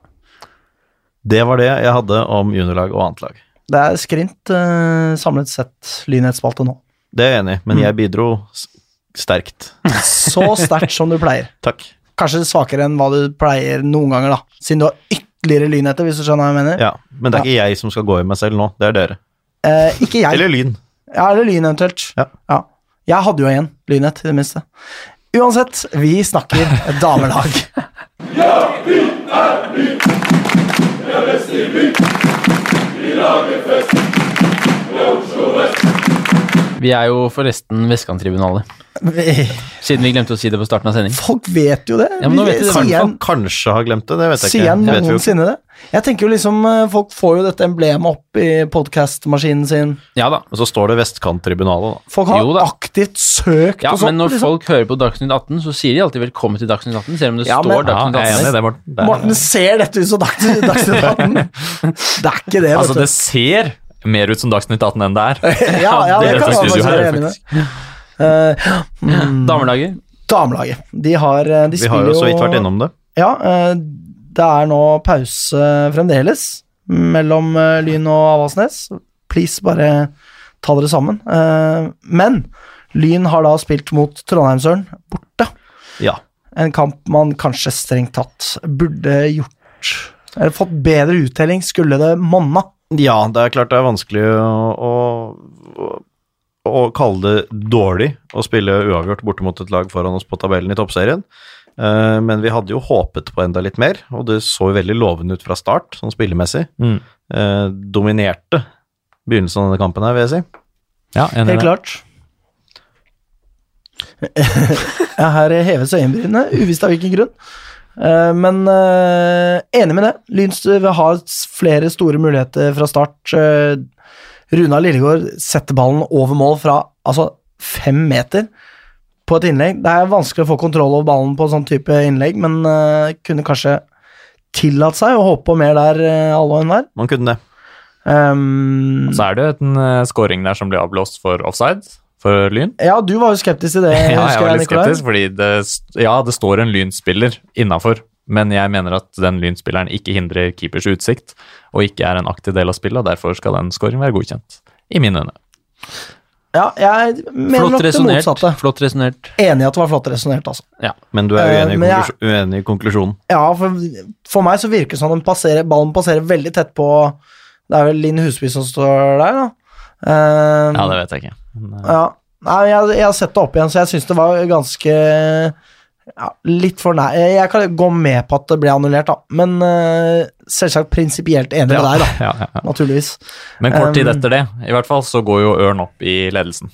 Speaker 2: Det var det jeg hadde om juniorlag og annet lag.
Speaker 1: Det er skrint eh, samlet sett lynhetsspalte nå.
Speaker 2: Det er jeg enig i, men jeg bidro s- sterkt.
Speaker 1: Så sterkt som du pleier.
Speaker 2: Takk.
Speaker 1: Kanskje svakere enn hva du pleier noen ganger, da. Siden du har ytterligere lynheter, hvis du skjønner hva jeg mener.
Speaker 2: Ja, men det er ikke jeg som skal gå i meg selv nå, det er dere.
Speaker 1: Eh, ikke jeg.
Speaker 2: Eller Lyn.
Speaker 1: Ja, eller lyn eventuelt.
Speaker 2: Ja.
Speaker 1: Jeg hadde jo en lynhet, i det minste. Uansett, vi snakker damelag.
Speaker 3: Vi er jo forresten Vestkanttribunalet.
Speaker 1: Vi-
Speaker 3: Siden vi glemte å si det på starten av sending.
Speaker 1: Folk vet jo det.
Speaker 3: Ja, men nå vet de det i hvert
Speaker 1: sier
Speaker 2: Kanskje,
Speaker 1: jeg,
Speaker 2: kanskje har glemt det, det vet jeg
Speaker 1: sier
Speaker 2: ikke.
Speaker 1: jeg
Speaker 2: Det vet vi jo ikke.
Speaker 1: noensinne det? Jeg tenker jo liksom, eh, Folk får jo dette emblemet opp i podkastmaskinen sin.
Speaker 3: Ja da.
Speaker 2: Og så står det Vestkanttribunalet, da.
Speaker 1: Folk
Speaker 3: Jo
Speaker 1: har
Speaker 3: da.
Speaker 1: aktivt søkt
Speaker 3: Ja,
Speaker 1: og sånt.
Speaker 3: men når
Speaker 1: liksom.
Speaker 3: folk hører på Dagsnytt 18, så sier de alltid 'velkommen til Dagsnytt 18', selv om det
Speaker 1: Ja, men-
Speaker 3: står
Speaker 4: Ja,
Speaker 3: Dagsnytt 18
Speaker 4: jeg er enig i
Speaker 3: der.
Speaker 4: det, Morten. Det er-
Speaker 1: Morten, ser dette ut som Dagsnytt Dagsnytt 18? Det er ikke det, vet
Speaker 4: Altså,
Speaker 1: du.
Speaker 4: det ser mer ut som Dagsnytt 18 enn det er.
Speaker 1: ja, ja, det
Speaker 4: det
Speaker 1: kan
Speaker 4: heter
Speaker 1: jeg
Speaker 4: studio
Speaker 1: faktisk
Speaker 4: her,
Speaker 1: være enig med. Eh,
Speaker 3: Damelaget.
Speaker 1: damelaget. De har eh, De
Speaker 2: Vi har
Speaker 1: spiller
Speaker 2: jo så vidt vært innom det.
Speaker 1: Ja, eh, det er nå pause fremdeles mellom eh, Lyn og Avaldsnes. Please, bare ta dere sammen. Eh, Men Lyn har da spilt mot Trondheimsøren borte.
Speaker 2: Ja.
Speaker 1: En kamp man kanskje strengt tatt burde gjort Eller fått bedre uttelling, skulle det monna.
Speaker 2: Ja, det er klart det er vanskelig å, å, å kalle det dårlig å spille uavgjort borte mot et lag foran oss på tabellen i toppserien. Eh, Men vi hadde jo håpet på enda litt mer, og det så jo veldig lovende ut fra start, sånn spillemessig.
Speaker 4: Mm.
Speaker 2: Eh, Dominerte begynnelsen av denne kampen her, vil jeg si.
Speaker 4: Ja, enig i
Speaker 1: Helt
Speaker 4: det.
Speaker 1: klart. Jeg har hevet øyenbrynene, uvisst av hvilken grunn. Eh, Men eh, enig med det. Lyns har s- flere store muligheter fra start. Eh, Runa Lillegård setter ballen over mål fra altså fem meter på et innlegg. Det er vanskelig å få kontroll over ballen på sånn type innlegg, men eh, kunne kanskje tillatt seg å håpe på mer der, eh, alle og enhver.
Speaker 2: Man kunne det.
Speaker 1: Um,
Speaker 4: Så er det jo en eh, scoring der som blir avblåst for offside for Lyn.
Speaker 1: Eh, ja, du var jo skeptisk til det,
Speaker 4: Ja, jeg
Speaker 1: Eh, husker
Speaker 4: var
Speaker 1: jeg,
Speaker 4: litt
Speaker 1: Nikolai.
Speaker 4: skeptisk, fordi det, st- ja, det står en lynspiller innafor, men jeg mener at den lynspilleren ikke hindrer keepers utsikt, og ikke er en aktiv del av spillet, og derfor skal den scoringen være godkjent. I mine øyne.
Speaker 1: Ja, jeg mener
Speaker 3: Flott
Speaker 1: nok det
Speaker 3: resonnert.
Speaker 1: motsatte.
Speaker 3: Flott resonert.
Speaker 1: Enig i at det var flott resonnert, altså.
Speaker 2: Men du er
Speaker 1: Eh,
Speaker 2: uenig i,
Speaker 1: men jeg-
Speaker 2: konklusjon- uenig i konklusjonen.
Speaker 1: Ja, for, for meg så virker det som den passerer, ballen passerer veldig tett på Det er vel Linn Husby som står der, da. Eh,
Speaker 4: Ja, det vet jeg ikke. Men, eh,
Speaker 1: ja. Nei, jeg, jeg har sett det opp igjen, så jeg syns det var ganske ja, Litt for nær. Jeg, jeg kan gå med på at det ble annullert, da, men eh, selvsagt prinsipielt enig med deg, da.
Speaker 4: ja, ja, ja.
Speaker 1: Naturligvis.
Speaker 4: Men kort tid
Speaker 1: Um,
Speaker 4: etter det, i hvert fall, så går jo Ørn opp i ledelsen.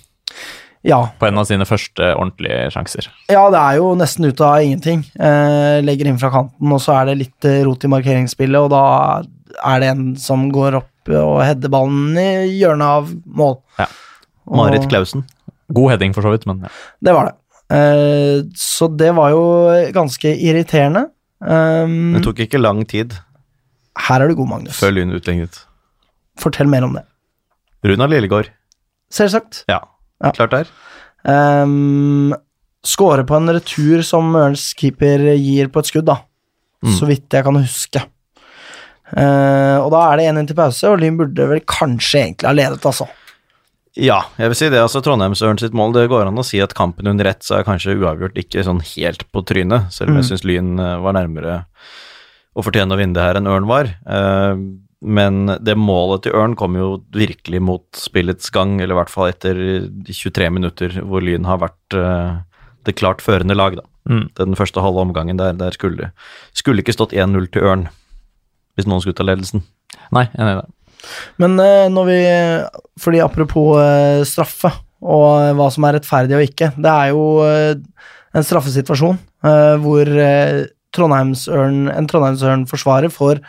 Speaker 1: Ja.
Speaker 4: på en av sine første ordentlige sjanser.
Speaker 1: Ja, det er jo nesten ut av ingenting. Eh, legger inn fra kanten, og så er det litt eh, rot i markeringsspillet, og da er det en som går opp og header ballen i hjørnet av mål.
Speaker 4: Ja.
Speaker 1: Og
Speaker 2: Marit Klausen.
Speaker 4: God heading, for så vidt, men ja.
Speaker 1: Det var det. Eh, så det var jo ganske irriterende. Um,
Speaker 2: Det tok ikke lang tid
Speaker 1: her er du god, Magnus.
Speaker 2: før Lyn utlignet.
Speaker 1: Fortell mer om det.
Speaker 2: Runar Lillegård.
Speaker 1: Selvsagt.
Speaker 2: Ja.
Speaker 1: Ja.
Speaker 2: Klart det er.
Speaker 1: Um, Skåre på en retur som Ørns keeper gir på et skudd, da.
Speaker 2: Mm.
Speaker 1: Så vidt jeg kan huske. Eh, og da er det 1-1 til pause, og Lyn burde vel kanskje egentlig ha ledet, altså.
Speaker 2: Ja, jeg vil si det. altså Trondheimsørn sitt mål, det går an å si at kampen under ett så er kanskje uavgjort ikke sånn helt på trynet, selv om jeg syns Lyn eh, var nærmere å fortjene å vinne det her enn Ørn var. Eh, Men det målet til Ørn kom jo virkelig mot spillets gang, eller i hvert fall etter 23 minutter hvor Lyn har vært eh, det klart førende lag, da.
Speaker 4: Mm.
Speaker 2: Den første halve omgangen der, der skulle, skulle ikke stått 1-0 til Ørn hvis noen skulle ta ledelsen.
Speaker 4: Nei, enig i det.
Speaker 1: Men eh, når vi Fordi apropos eh, straffe og eh, hva som er rettferdig og ikke. Det er jo eh, en straffesituasjon eh, hvor eh, Trondheimsørn, en Trondheimsørn-forsvarer får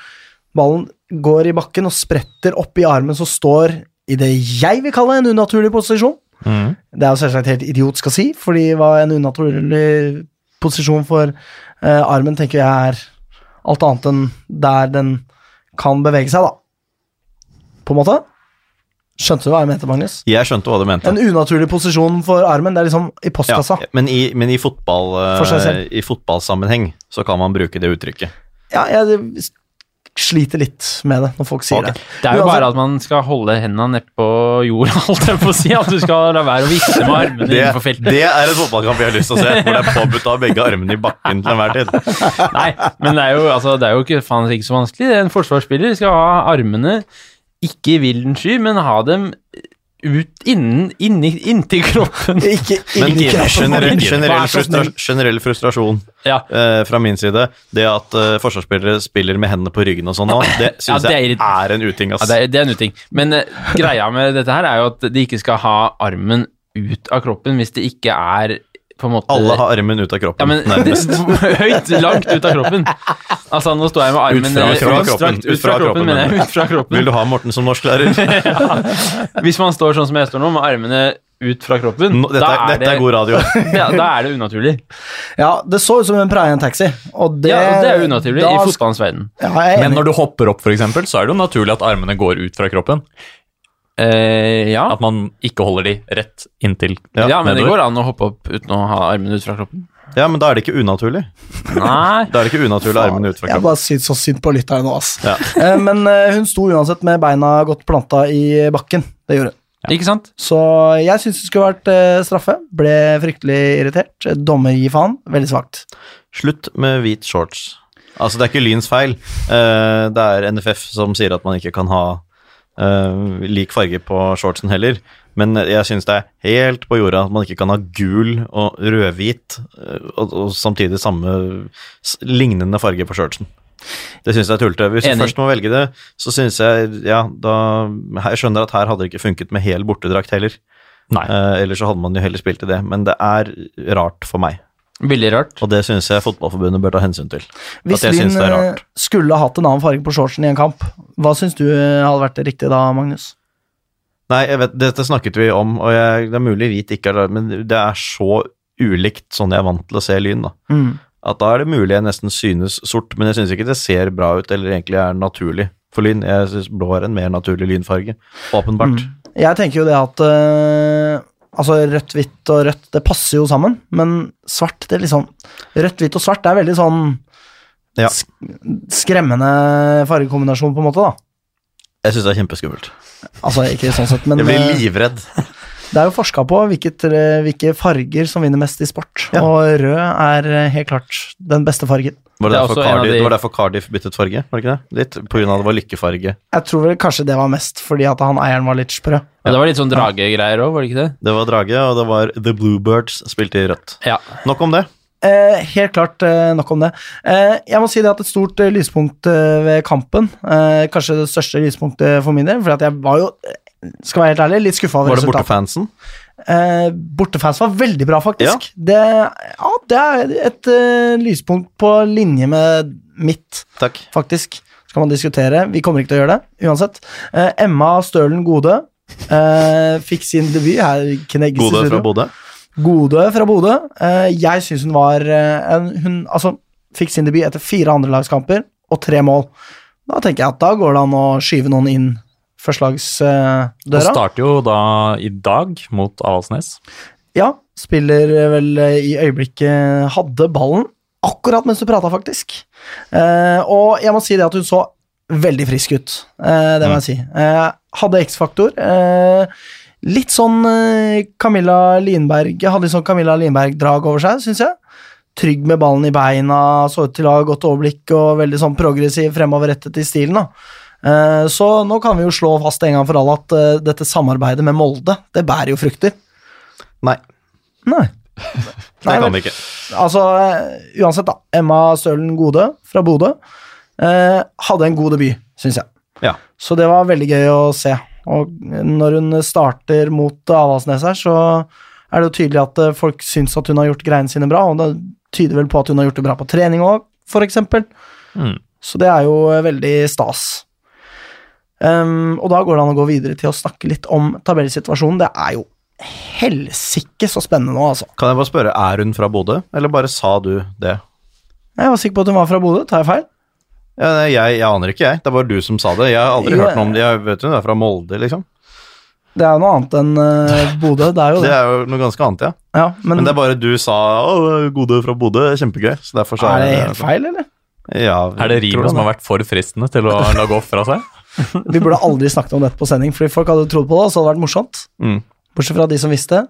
Speaker 1: ballen, går i bakken og spretter opp i armen som står i det jeg vil kalle en unaturlig posisjon.
Speaker 4: Mhm.
Speaker 1: Det er jo selvsagt helt idiotsk å si, fordi hva en unaturlig posisjon for eh, armen tenker jeg er alt annet enn der den kan bevege seg, da. På en måte. Skjønte du hva jeg mente, Magnus?
Speaker 2: Jeg skjønte hva du mente.
Speaker 1: En unaturlig posisjon for armen, det er liksom i
Speaker 2: Ja,
Speaker 1: postkassa. Ja,
Speaker 2: men i, men i, fotball, eh,
Speaker 1: For seg selv.
Speaker 2: i fotballsammenheng så kan man bruke det uttrykket.
Speaker 1: jeg sliter litt med det når folk sier
Speaker 2: Ok.
Speaker 1: det.
Speaker 3: Det er
Speaker 1: Men
Speaker 3: jo
Speaker 1: altså-
Speaker 3: bare at man skal holde hendene nedpå jorda, holdt jeg på å si. At du skal la være å vifte med armene
Speaker 2: Det,
Speaker 3: innenfor feltet.
Speaker 2: det er en fotballkamp jeg har lyst til å se, hvor det er påbudt å ha begge armene i bakken til enhver tid.
Speaker 3: Nei, men det er jo, altså, det er jo ikke, faen, ikke så vanskelig. En forsvarsspiller skal ha armene ikke i villen sky, men ha dem ut innen, inni, inntil kroppen.
Speaker 1: Ikke,
Speaker 2: Men
Speaker 1: ikke-
Speaker 2: generell, generell,
Speaker 3: Vær så snill.
Speaker 2: frustra, generell frustrasjon
Speaker 3: Ja,
Speaker 2: eh, fra min side, det at eh, forsvarsspillere spiller med hendene på ryggen og sånn nå, det
Speaker 3: Ja,
Speaker 2: syns
Speaker 3: det er
Speaker 2: jeg
Speaker 3: irriterende.
Speaker 2: er en uting,
Speaker 3: ja
Speaker 2: ass.
Speaker 3: det, er, det er en uting. Men eh, greia med dette her er jo at de ikke skal ha armen ut av kroppen hvis det ikke er på en måte
Speaker 2: Alle har armen ut
Speaker 3: Ja,
Speaker 2: av kroppen.
Speaker 3: men
Speaker 2: nærmest.
Speaker 3: høyt, langt ut av kroppen. Altså, nå står jeg med armen
Speaker 2: Ut fra
Speaker 3: ned-
Speaker 2: kroppen.
Speaker 3: utstrakt ut fra kroppen, mener jeg. Ut fra kroppen.
Speaker 2: Vil du ha Morten som norsklærer?
Speaker 3: Hvis man står sånn som jeg står nå, med armene ut fra kroppen,
Speaker 2: Nå- Dette, er- dette er god radio.
Speaker 3: ja, da er det unaturlig.
Speaker 1: Ja, det så ut som en preie i en taxi, og det
Speaker 3: Ja, og det er jo
Speaker 1: Eh,
Speaker 3: unaturlig
Speaker 1: da
Speaker 3: i
Speaker 1: sk-
Speaker 3: fotballens verden.
Speaker 1: Ja, jeg er
Speaker 4: Men
Speaker 1: enig.
Speaker 4: når du hopper opp, f.eks., så er det jo naturlig at armene går ut fra kroppen.
Speaker 3: Eh, ja.
Speaker 4: At man ikke holder de rett inntil
Speaker 3: ja, men det
Speaker 4: nedover.
Speaker 3: går an å hoppe opp uten å ha armene ut fra kroppen.
Speaker 2: Ja, men da er det ikke unaturlig.
Speaker 3: Nei.
Speaker 2: Da er det ikke unaturlig å ha armene ut fra
Speaker 1: Jeg
Speaker 2: kroppen.
Speaker 1: bare syns så synd på lytteren nå, ass.
Speaker 2: Ja.
Speaker 1: Eh, Men eh, hun sto uansett med beina godt planta i bakken. Det gjorde hun.
Speaker 3: Ikke sant?
Speaker 1: Så jeg syns det skulle vært eh, straffe. Ble fryktelig irritert. Dommer gir faen. Veldig svakt.
Speaker 2: Slutt med hvit shorts. Altså, det er ikke Lyns feil. Eh, det er NFF som sier at man ikke kan ha eh, lik farge på shortsen heller. Men jeg syns det er helt på jorda at man ikke kan ha gul og rødhvit eh, og, og samtidig samme s- lignende farge på shortsen. Det syns jeg er tullete. Hvis
Speaker 3: Enig.
Speaker 2: du først må velge det, så syns jeg Ja, da Jeg skjønner at her hadde det ikke funket med hel bortedrakt heller.
Speaker 4: Nei.
Speaker 2: Eh, ellers så hadde man jo heller spilt i det. Men det er rart for meg.
Speaker 3: Veldig rart.
Speaker 2: Og det syns jeg Fotballforbundet bør ta hensyn til.
Speaker 1: Hvis
Speaker 2: at jeg
Speaker 1: Lyn
Speaker 2: syns det er rart.
Speaker 1: eh, skulle hatt en annen farge på shortsen i en kamp, hva syns du eh, hadde vært det riktige da, Magnus?
Speaker 2: Nei, jeg vet, dette snakket vi om, og jeg, det er mulig hvit ikke er det, men det er så ulikt sånn jeg er vant til å se Lyn, da.
Speaker 1: Mm.
Speaker 2: At da er det mulig jeg nesten synes sort, men jeg syns ikke det ser bra ut eller egentlig er naturlig for Lyn. Jeg syns blå er en mer naturlig lynfarge, åpenbart.
Speaker 3: Mm.
Speaker 1: Jeg tenker jo det at eh, Altså, rødt, hvitt og rødt, det passer jo sammen, men svart, det er liksom Rødt, hvitt og svart det er veldig sånn
Speaker 2: Ja.
Speaker 1: sk skremmende fargekombinasjon, på en måte, da.
Speaker 2: Jeg syns det er kjempeskummelt.
Speaker 1: Altså, ikke sånn sett, men
Speaker 2: Jeg blir
Speaker 1: eh,
Speaker 2: livredd.
Speaker 1: Det er jo forska på hvilket, eh, hvilke farger som vinner mest i sport,
Speaker 2: Ja.
Speaker 1: og rød er eh, helt klart den beste fargen.
Speaker 2: Var
Speaker 3: Det
Speaker 2: det,
Speaker 3: er
Speaker 2: derfor
Speaker 3: også en av
Speaker 2: Cardiff,
Speaker 3: de-
Speaker 2: det var derfor Cardiff byttet farge? Var det ikke det? Litt, på grunn av det var lykkefarge.
Speaker 1: Jeg tror vel kanskje det var mest fordi at han eieren var litt sprø.
Speaker 3: Ja, det var litt sånn dragegreier òg, var det ikke det?
Speaker 2: Det var drage, og det var The Bluebirds spilte i rødt.
Speaker 3: Ja.
Speaker 2: Nok om det.
Speaker 1: Eh, helt klart eh, nok om det. Eh, jeg må si det at et stort eh, lyspunkt eh, ved kampen, eh, kanskje det største lyspunktet for min del, for at jeg var jo, eh, skal være helt ærlig, litt skuffa over
Speaker 2: Var det
Speaker 1: resultatet.
Speaker 2: bortefansen?
Speaker 1: Eh, bortefans var veldig bra, faktisk. Det, ja, det er et eh, lyspunkt på linje med mitt,
Speaker 2: Takk.
Speaker 1: faktisk. Så kan man diskutere. Vi kommer ikke til å gjøre det, uansett. Eh, Emma Stølen Gode eh, fikk sin debut her. i Knegges i
Speaker 2: Gode
Speaker 1: studio.
Speaker 2: fra Bodø.
Speaker 1: Gode fra Bodø. Eh, jeg syns hun var eh, en, Hun altså, fikk sin debut etter fire andrelagskamper og tre mål. Da tenker jeg at da går det an å skyve noen inn
Speaker 4: Og
Speaker 1: førstelagsdøra.
Speaker 4: starter jo da i dag mot Avaldsnes.
Speaker 1: ja, spiller vel eh, i øyeblikket Hadde ballen akkurat mens du prata, faktisk. Eh, og jeg må si det at hun så veldig frisk ut. Eh, det må jeg si. Eh, hadde X-faktor. Eh, Litt sånn eh, Camilla Linberg Hadde litt sånn Camilla Linberg-drag over seg, syns jeg. Trygg med ballen i beina, så ut til å ha godt overblikk og veldig sånn progressiv fremoverrettet i stilen. da. Eh, Så nå kan vi jo slå fast en gang for alle at eh, dette samarbeidet med Molde, det bærer jo frukter.
Speaker 2: Nei.
Speaker 1: Nei.
Speaker 2: Det
Speaker 1: Nei,
Speaker 2: kan
Speaker 1: vel.
Speaker 2: det ikke.
Speaker 1: Altså, eh, uansett, da. Emma Stølen Gode fra Bodø eh, hadde en god debut, syns jeg.
Speaker 2: Ja.
Speaker 1: Så det var veldig gøy å se. Og når hun starter mot Avaldsnes her, så er det jo tydelig at eh, folk syns at hun har gjort greiene sine bra, og det tyder vel på at hun har gjort det bra på trening òg, for eksempel.
Speaker 4: Mm.
Speaker 1: Så det er jo eh, veldig stas. Ehm, og da går det an å gå videre til å snakke litt om tabellsituasjonen. Det er jo helsike så spennende nå, altså.
Speaker 2: Kan jeg bare spørre, er hun fra Bodø, eller bare sa du det?
Speaker 1: Jeg var sikker på at hun var fra Bodø, tar jeg feil?
Speaker 2: Ja, nei, jeg, jeg aner ikke, jeg. Det var du som sa det. Jeg har aldri
Speaker 1: Jo,
Speaker 2: hørt noe om det. Jeg vet hun er fra Molde, liksom.
Speaker 1: Det er jo noe annet enn eh, Bodø, det er jo
Speaker 2: Det
Speaker 1: det.
Speaker 2: er jo noe ganske annet, ja.
Speaker 1: Ja, men,
Speaker 2: Men det er bare du sa å, Gode fra Bodø, kjempegøy. Så derfor så altså.
Speaker 1: er det helt feil, eller?
Speaker 2: Ja,
Speaker 4: Er det
Speaker 2: tror
Speaker 4: rimet som har vært for fristende til å la gå fra seg?
Speaker 1: Vi burde aldri snakket om dette på sending, fordi folk hadde trodd på det, og så hadde det vært morsomt.
Speaker 2: Mm.
Speaker 1: Bortsett fra de som visste.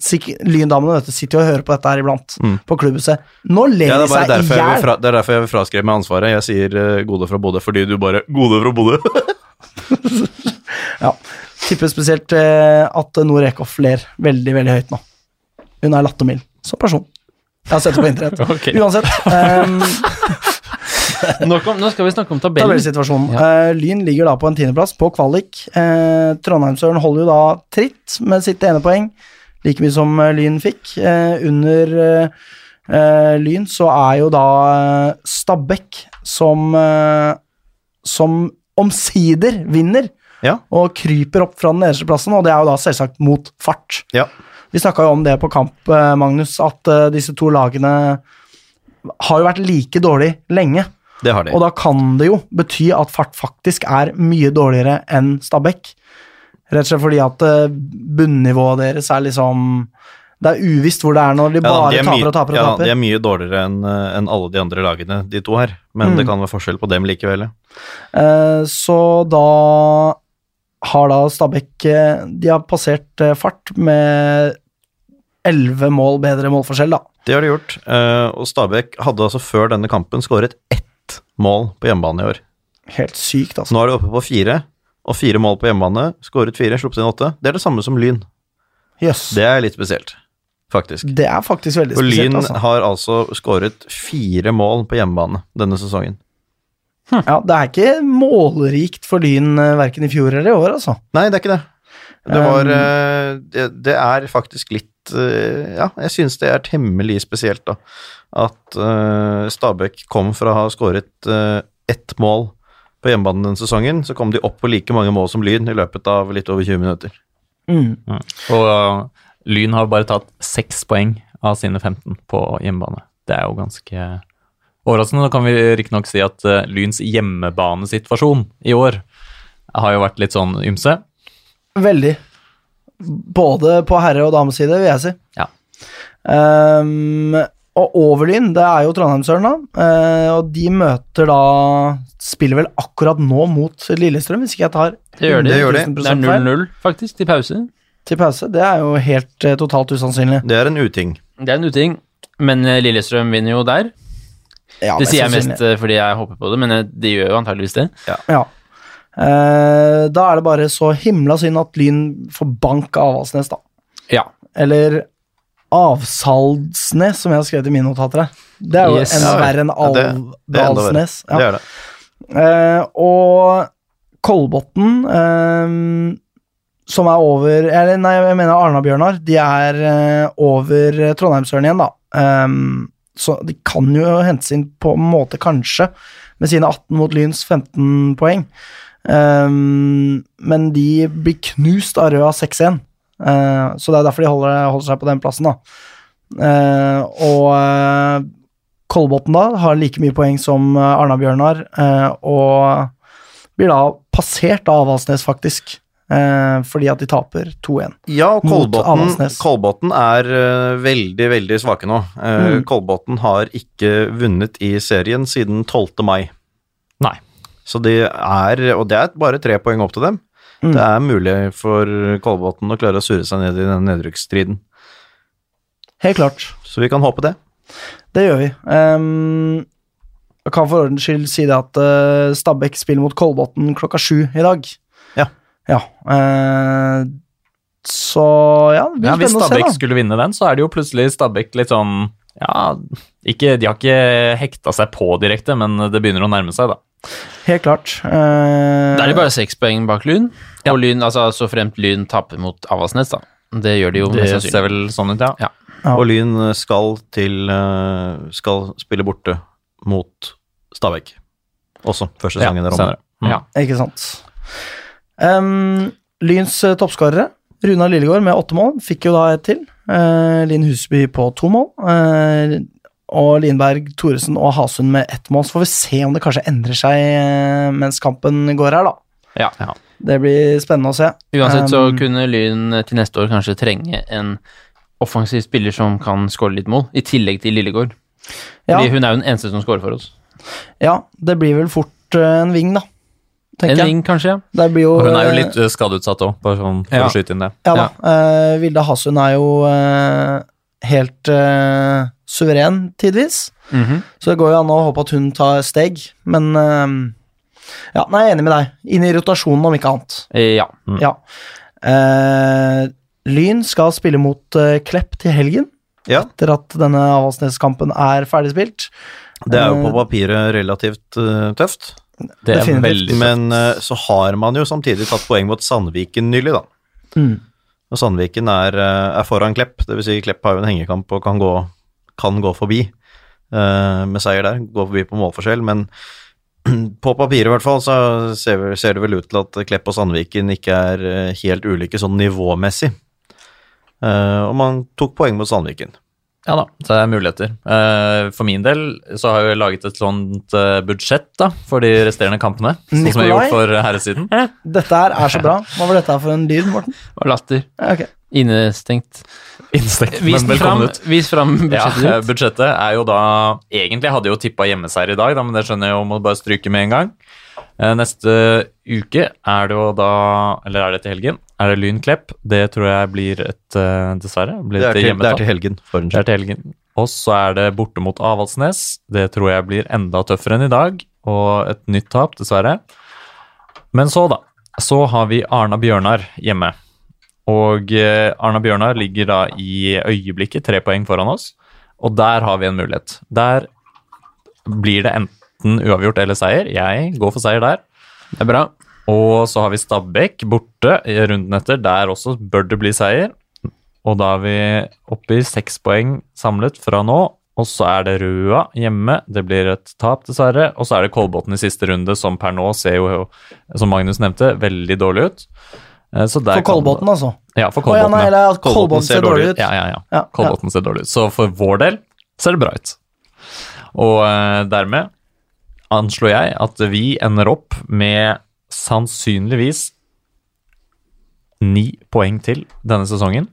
Speaker 1: Sikk- Lyndamene vet du, sitter jo og hører på dette her iblant,
Speaker 2: Mm.
Speaker 1: på klubbhuset. Nå ler
Speaker 2: Ja, det
Speaker 1: de
Speaker 2: er bare
Speaker 1: seg i
Speaker 2: derfor jeg vil
Speaker 1: hjel!
Speaker 2: fra, det er derfor jeg vil fraskrive meg ansvaret. Jeg sier eh, Gode fra Bodø fordi du bare Gode fra Bodø!
Speaker 1: Ja. Tipper spesielt eh, at Noor Ekhoff ler veldig, veldig høyt nå. Hun er lattermild som person. Jeg har sett det på internett.
Speaker 3: Ok.
Speaker 1: Uansett, um,
Speaker 3: Nok om, nå skal vi snakke om tabellen.
Speaker 1: tabellsituasjonen. Eh, Lyn ligger da på en tiendeplass på kvalik. Uh, Trondheimsøren holder jo da tritt med sitt ene poeng, like mye som eh, Lyn fikk. Eh, under eh, eh, Lyn så er jo da eh, Stabæk som eh, som omsider vinner
Speaker 2: Ja.
Speaker 1: og kryper opp fra den nederste plassen, og det er jo da selvsagt mot fart.
Speaker 2: Ja.
Speaker 1: Vi snakka jo om det på kamp, eh, Magnus, at eh, disse to lagene har jo vært like dårlig lenge.
Speaker 2: Det har de.
Speaker 1: Og da kan det jo bety at fart faktisk er mye dårligere enn Stabæk. Rett og slett fordi at eh, bunnivået deres er liksom Det er uvisst hvor det er når de
Speaker 2: Ja,
Speaker 1: bare
Speaker 2: de er
Speaker 1: taper
Speaker 2: mye-
Speaker 1: og taper og
Speaker 2: ja,
Speaker 1: taper.
Speaker 2: De er mye dårligere enn eh, enn alle de andre lagene, de to her. Men
Speaker 1: Mm.
Speaker 2: det kan være forskjell på dem likevel. ja.
Speaker 1: Eh, Så da har da Stabæk eh, De har passert eh, fart med elleve mål bedre målforskjell, da.
Speaker 2: Det har de gjort. eh, Og Stabæk hadde altså før denne kampen skåret ett mål på hjemmebane i år.
Speaker 1: Helt sykt,
Speaker 2: Så
Speaker 1: altså.
Speaker 2: nå er de oppe på fire, og fire mål på hjemmebane. Skåret fire, sluppet inn åtte. Det er det samme som Lyn.
Speaker 1: Jøss.
Speaker 2: Det er litt spesielt, faktisk.
Speaker 1: Det er faktisk veldig
Speaker 2: Og Lyn
Speaker 1: spesielt, altså.
Speaker 2: har altså skåret fire mål på hjemmebane denne sesongen.
Speaker 1: Ja, det er ikke målrikt for Lyn eh, verken i fjor eller i år, altså.
Speaker 2: Nei, det er ikke det. Det var
Speaker 1: Um,
Speaker 2: eh, Det, det er faktisk litt eh, Ja, jeg syns det er temmelig spesielt, da. At eh, Stabæk kom fra å ha skåret eh, ett mål på hjemmebane denne sesongen, så kom de opp på like mange mål som Lyn i løpet av litt over 20 minutter.
Speaker 1: Mm.
Speaker 4: Og uh, Lyn har bare tatt seks poeng av sine 15 på hjemmebane. Det er jo ganske overraskende. Da kan vi riktignok si at uh, Lyns hjemmebanesituasjon i år har jo vært litt sånn ymse.
Speaker 1: Veldig. Både på herre- og dameside, vil jeg si.
Speaker 4: Ja.
Speaker 1: Ehm, og Overlyn, det er jo Trondheimsøren, da. Eh, og de møter da Spiller vel akkurat nå mot Lillestrøm, hvis ikke jeg tar
Speaker 3: Det gjør de.
Speaker 1: 100
Speaker 3: Det er 0-0, faktisk, til pause.
Speaker 1: til pause. Det er jo helt eh, totalt usannsynlig.
Speaker 2: Det er en uting.
Speaker 3: Det er en uting, men eh, Lillestrøm vinner jo der.
Speaker 1: Ja,
Speaker 3: Det
Speaker 1: mest
Speaker 3: sier jeg mest
Speaker 1: sannsynlig.
Speaker 3: eh, fordi jeg håper på det, men eh, de gjør jo antageligvis det.
Speaker 1: Ja. Eh, da er det bare så himla synd at Lyn får bank av Avaldsnes, da.
Speaker 3: Ja.
Speaker 1: Eller Avsaldsnes, som jeg har skrevet i mine notater. her. Det er jo
Speaker 3: Yes.
Speaker 1: enda verre enn
Speaker 2: Ja, det- det er enda verre.
Speaker 1: Avdalsnes. Ja.
Speaker 2: Det er det.
Speaker 1: Eh, og Kolbotn eh, som er over eller, Nei, jeg mener Arna-Bjørnar. De er eh, over eh, Trondheimsøren igjen, da. Ehm, så de kan jo hentes inn på en måte, kanskje, med sine 18 mot Lyns 15 poeng. Ehm, men de blir knust av Røa 6-1, Eh, så det er derfor de holder, holder seg på den plassen, da. Eh, og eh, Kolbotn da har like mye poeng som eh, Arna-Bjørnar, eh, og blir da passert av Avaldsnes, faktisk. Eh, fordi at de taper 2-1.
Speaker 2: Ja, og
Speaker 1: Mot
Speaker 2: Kolbotn,
Speaker 1: Avaldsnes.
Speaker 2: Kolbotn er eh, veldig, veldig svake nå. Eh,
Speaker 1: Mm.
Speaker 2: Kolbotn har ikke vunnet i serien siden 12. mai.
Speaker 4: Nei.
Speaker 2: Så det er, og det er bare tre poeng opp til dem.
Speaker 1: Mm.
Speaker 2: Det er mulig for Kolbotn å klare å surre seg ned i den nedrykksstriden.
Speaker 1: Helt klart.
Speaker 2: Så vi kan håpe det.
Speaker 1: Det gjør vi. Ehm, jeg kan for ordens skyld si det at eh, Stabæk spiller mot Kolbotn klokka sju i dag.
Speaker 2: Ja.
Speaker 1: Ja, eh, så ja, det blir
Speaker 4: Ja, hvis
Speaker 1: spennende å se,
Speaker 4: Stabæk
Speaker 1: da.
Speaker 4: skulle vinne den, så er det jo plutselig Stabæk litt sånn Ja, ikke, de har ikke hekta seg på direkte, men det begynner å nærme seg, da.
Speaker 1: Helt klart. Eh,
Speaker 3: Da er det bare seks poeng bak Lyn. Og Lyn, altså så fremt Lyn taper mot Avaldsnes, da. Det gjør de jo
Speaker 4: Det
Speaker 3: mest
Speaker 4: ser
Speaker 3: sannsynlig.
Speaker 4: vel sånn ut, ja.
Speaker 1: Ja.
Speaker 2: Og Lyn skal til eh, Skal spille borte mot Stabæk. Også. Første
Speaker 4: Ja,
Speaker 2: sesongen er omme.
Speaker 4: senere. Mm.
Speaker 3: Ja.
Speaker 1: Ikke sant. Ehm, Lyns eh, toppskårere, Runa Lillegård med åtte mål, fikk jo da et til. Eh, Linn Husby på to mål. eh, og Linberg, Thoresen og Hasund med ett mål. Så får vi se om det kanskje endrer seg eh, mens kampen går her, da.
Speaker 3: Ja.
Speaker 4: Ja.
Speaker 1: Det blir spennende å se.
Speaker 3: Uansett så
Speaker 1: Um,
Speaker 3: kunne Lyn eh, til neste år kanskje trenge en offensiv spiller som kan skåre litt mål, i tillegg til Lillegård.
Speaker 1: Ja,
Speaker 3: Fordi hun er jo den eneste som skårer for oss.
Speaker 1: ja, det blir vel fort eh, en ving, da.
Speaker 3: En
Speaker 1: Tenker jeg.
Speaker 3: ring, kanskje.
Speaker 1: Det blir jo,
Speaker 4: Og hun er jo
Speaker 1: eh,
Speaker 4: litt eh, skadeutsatt òg, bare sånn for
Speaker 3: Ja.
Speaker 4: å skyte inn det.
Speaker 1: Ja da. eh, Vilde Hasund er jo eh, helt eh, suveren, tidvis. Så det går jo an å håpe at hun tar steg, men eh, Ja, nei, jeg er enig med deg. Inn i rotasjonen, om ikke annet.
Speaker 3: Eh, Ja.
Speaker 1: Ja. Eh, Lyn skal spille mot eh, Klepp til helgen,
Speaker 2: Ja,
Speaker 1: etter at denne Avaldsnes-kampen er ferdigspilt.
Speaker 2: det er jo på papiret relativt eh, tøft.
Speaker 4: Eh, Det er
Speaker 1: Definitivt.
Speaker 4: veldig
Speaker 2: Men eh, så har man jo samtidig tatt poeng mot Sandviken nylig, da.
Speaker 1: Mm.
Speaker 2: Og Sandviken er, eh, er foran Klepp, dvs. Si Klepp har jo en hengekamp og kan gå, kan gå forbi eh, med seier der. Gå forbi på målforskjell, men på papiret i hvert fall så ser, vi- ser det vel ut til at Klepp og Sandviken ikke er eh, helt ulike sånn nivåmessig. Eh, og man tok poeng mot Sandviken.
Speaker 4: Ja da, så det er muligheter. Eh, For min del så har jeg laget et sånt eh, budsjett da, for de resterende kampene. Sånn som jeg har
Speaker 1: Nikolai?
Speaker 4: gjort for herresiden.
Speaker 1: Dette her er så bra. Hva var dette her for en lyd, Morten?
Speaker 3: Og latter.
Speaker 1: Ja, ok.
Speaker 3: Innestengt.
Speaker 4: Innstengt,
Speaker 3: Vis
Speaker 4: men
Speaker 3: den fram,
Speaker 4: velkommen ut.
Speaker 3: vis fram budsjettet
Speaker 4: Ja,
Speaker 3: ditt.
Speaker 4: budsjettet er jo da Egentlig hadde jeg jo tippa hjemmeseier i dag, da, men det skjønner jeg jo må bare stryke med en gang. Eh, Neste uke er det jo da Eller er det til helgen? Er det Lyn Klepp? Det tror jeg blir et eh, Dessverre.
Speaker 2: Det
Speaker 4: Blir
Speaker 2: er
Speaker 4: et
Speaker 2: til, det er
Speaker 4: hjemmetap.
Speaker 2: til helgen, for en
Speaker 4: Det
Speaker 2: skyld.
Speaker 4: er til helgen. Og så er det borte mot Avaldsnes. Det tror jeg blir enda tøffere enn i dag. Og et nytt tap, dessverre. Men så, da. Så har vi Arna-Bjørnar hjemme. Og eh, Arna-Bjørnar ligger da i øyeblikket tre poeng foran oss. Og der har vi en mulighet. Der blir det enten uavgjort eller seier. Jeg går for seier der.
Speaker 3: Det er bra.
Speaker 4: Og så har vi Stabæk borte i runden etter. Der også bør det bli seier. Og da er vi oppe i seks poeng samlet fra nå. Og så er det Røa hjemme. Det blir et tap, dessverre. Og så er det Kolbotn i siste runde, som per nå ser jo, som Magnus nevnte, veldig dårlig ut. Eh, Så der
Speaker 1: For Kolbotn, altså.
Speaker 4: Kan, ja, for
Speaker 1: Å ja,
Speaker 4: Kolbotn.
Speaker 1: nei,
Speaker 4: ja.
Speaker 1: eller at Kolbotn ser dårlig ut.
Speaker 4: Ja, ja,
Speaker 1: Ja,
Speaker 4: ja.
Speaker 1: ja.
Speaker 4: Kolbotn ser dårlig ut. Så for vår del ser det bra ut. Og eh, dermed anslår jeg at vi ender opp med sannsynligvis ni poeng til denne sesongen.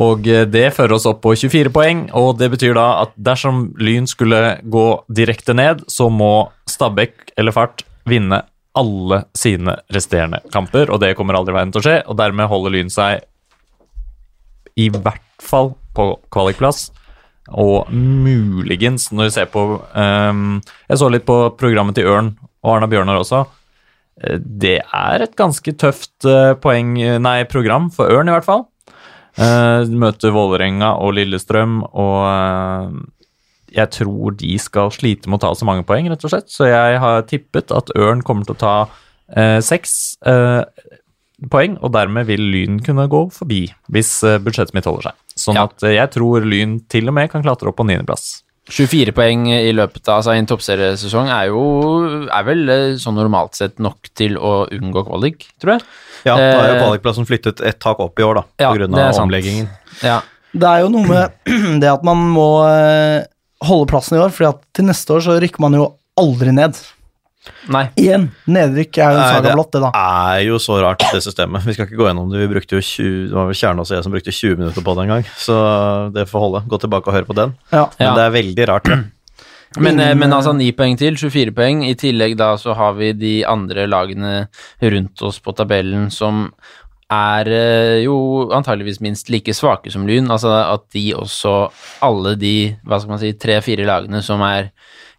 Speaker 4: Og eh, det fører oss opp på 24 poeng, og det betyr da at dersom Lyn skulle gå direkte ned, så må Stabæk eller Fart vinne alle sine resterende kamper, og det kommer aldri i verden til å skje, og dermed holder Lyn seg i hvert fall på kvalikplass. Og muligens, når du ser på ehm, Jeg så litt på programmet til Ørn og Arna Bjørnar også. Eh, Det er et ganske tøft eh, poeng, nei, program, for Ørn i hvert fall. Eh, Du møter Vålerenga og Lillestrøm, og eh, jeg tror de skal slite med å ta så mange poeng, rett og slett. Så jeg har tippet at Ørn kommer til å ta eh, seks. eh, poeng, og dermed vil Lyn kunne gå forbi hvis eh, budsjettet mitt holder seg. Sånn
Speaker 3: Ja.
Speaker 4: at eh, jeg tror Lyn til og med kan klatre opp på niendeplass.
Speaker 3: 24 poeng i løpet av altså, en toppseriesesong er jo er vel eh, sånn normalt sett nok til å unngå kvalik, tror jeg.
Speaker 2: Ja, da er jo
Speaker 3: Eh,
Speaker 2: kvalikplassen flyttet ett tak opp i år, da,
Speaker 3: Ja,
Speaker 2: pga.
Speaker 3: det er
Speaker 2: av
Speaker 3: sant.
Speaker 2: omleggingen.
Speaker 3: Ja.
Speaker 1: Det er jo noe med det at man må eh, holde plassen i år, fordi at til neste år så rykker man jo aldri ned.
Speaker 3: Nei.
Speaker 1: Igjen, nedrykk er jo en
Speaker 2: Nei,
Speaker 1: saga blått, det da.
Speaker 2: er Ah. jo så rart, det systemet. Vi skal ikke gå gjennom det. Vi brukte jo 20, det var vel Kjernås og jeg som brukte 20 minutter på det en gang, så det får holde. Gå tilbake og høre på den.
Speaker 1: Ja.
Speaker 3: Ja.
Speaker 2: Men det er veldig rart. Ja.
Speaker 3: Men, eh,
Speaker 1: Ingen,
Speaker 3: men
Speaker 4: Mm.
Speaker 1: eh,
Speaker 3: altså 9 poeng til, 24 poeng. I tillegg da så har vi de andre lagene rundt oss på tabellen som er eh, jo antageligvis minst like svake som Lyn. Altså at de også, alle de hva skal man si, tre-fire lagene som er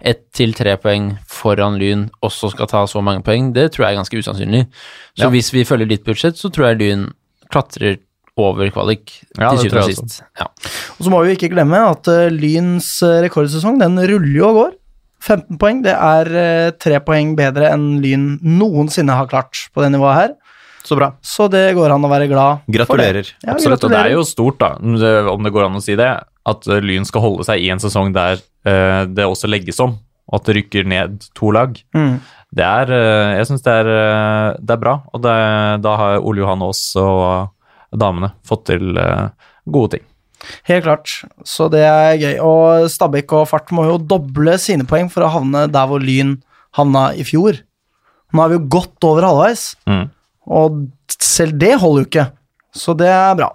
Speaker 3: ett til tre poeng foran Lyn, også skal ta så mange poeng, det tror jeg er ganske usannsynlig. Så
Speaker 4: Ja.
Speaker 3: hvis vi følger ditt budsjett, så tror jeg Lyn klatrer over kvalik
Speaker 4: Ja,
Speaker 3: til
Speaker 4: det tror
Speaker 3: syvende og
Speaker 4: jeg også.
Speaker 3: sist. Ja.
Speaker 1: Og så må vi jo ikke glemme at eh, Lyns eh, rekordsesong, den ruller jo og går. 15 poeng, det er eh, tre poeng bedre enn Lyn noensinne har klart på det nivået her.
Speaker 2: Så bra.
Speaker 1: Så det går an å være glad for.
Speaker 2: Gratulerer.
Speaker 1: det. Ja,
Speaker 4: Absolutt, og det
Speaker 1: gratulerer.
Speaker 4: er jo stort, da, om det- om det går an å si det, at eh, Lyn skal holde seg i en sesong der eh, det også legges om, og at det rykker ned to lag.
Speaker 1: Mm.
Speaker 4: Det er, eh, jeg syns det, er, eh, det er bra, og det, da har Ole Johan Aas og damene fått til eh, gode ting.
Speaker 1: Helt klart. Så det er gøy. Og Stabæk og Fart må jo doble sine poeng for å havne der hvor Lyn havna i fjor. Nå er vi jo godt over halvveis,
Speaker 4: Mm.
Speaker 1: og selv det holder jo ikke. Så det er bra.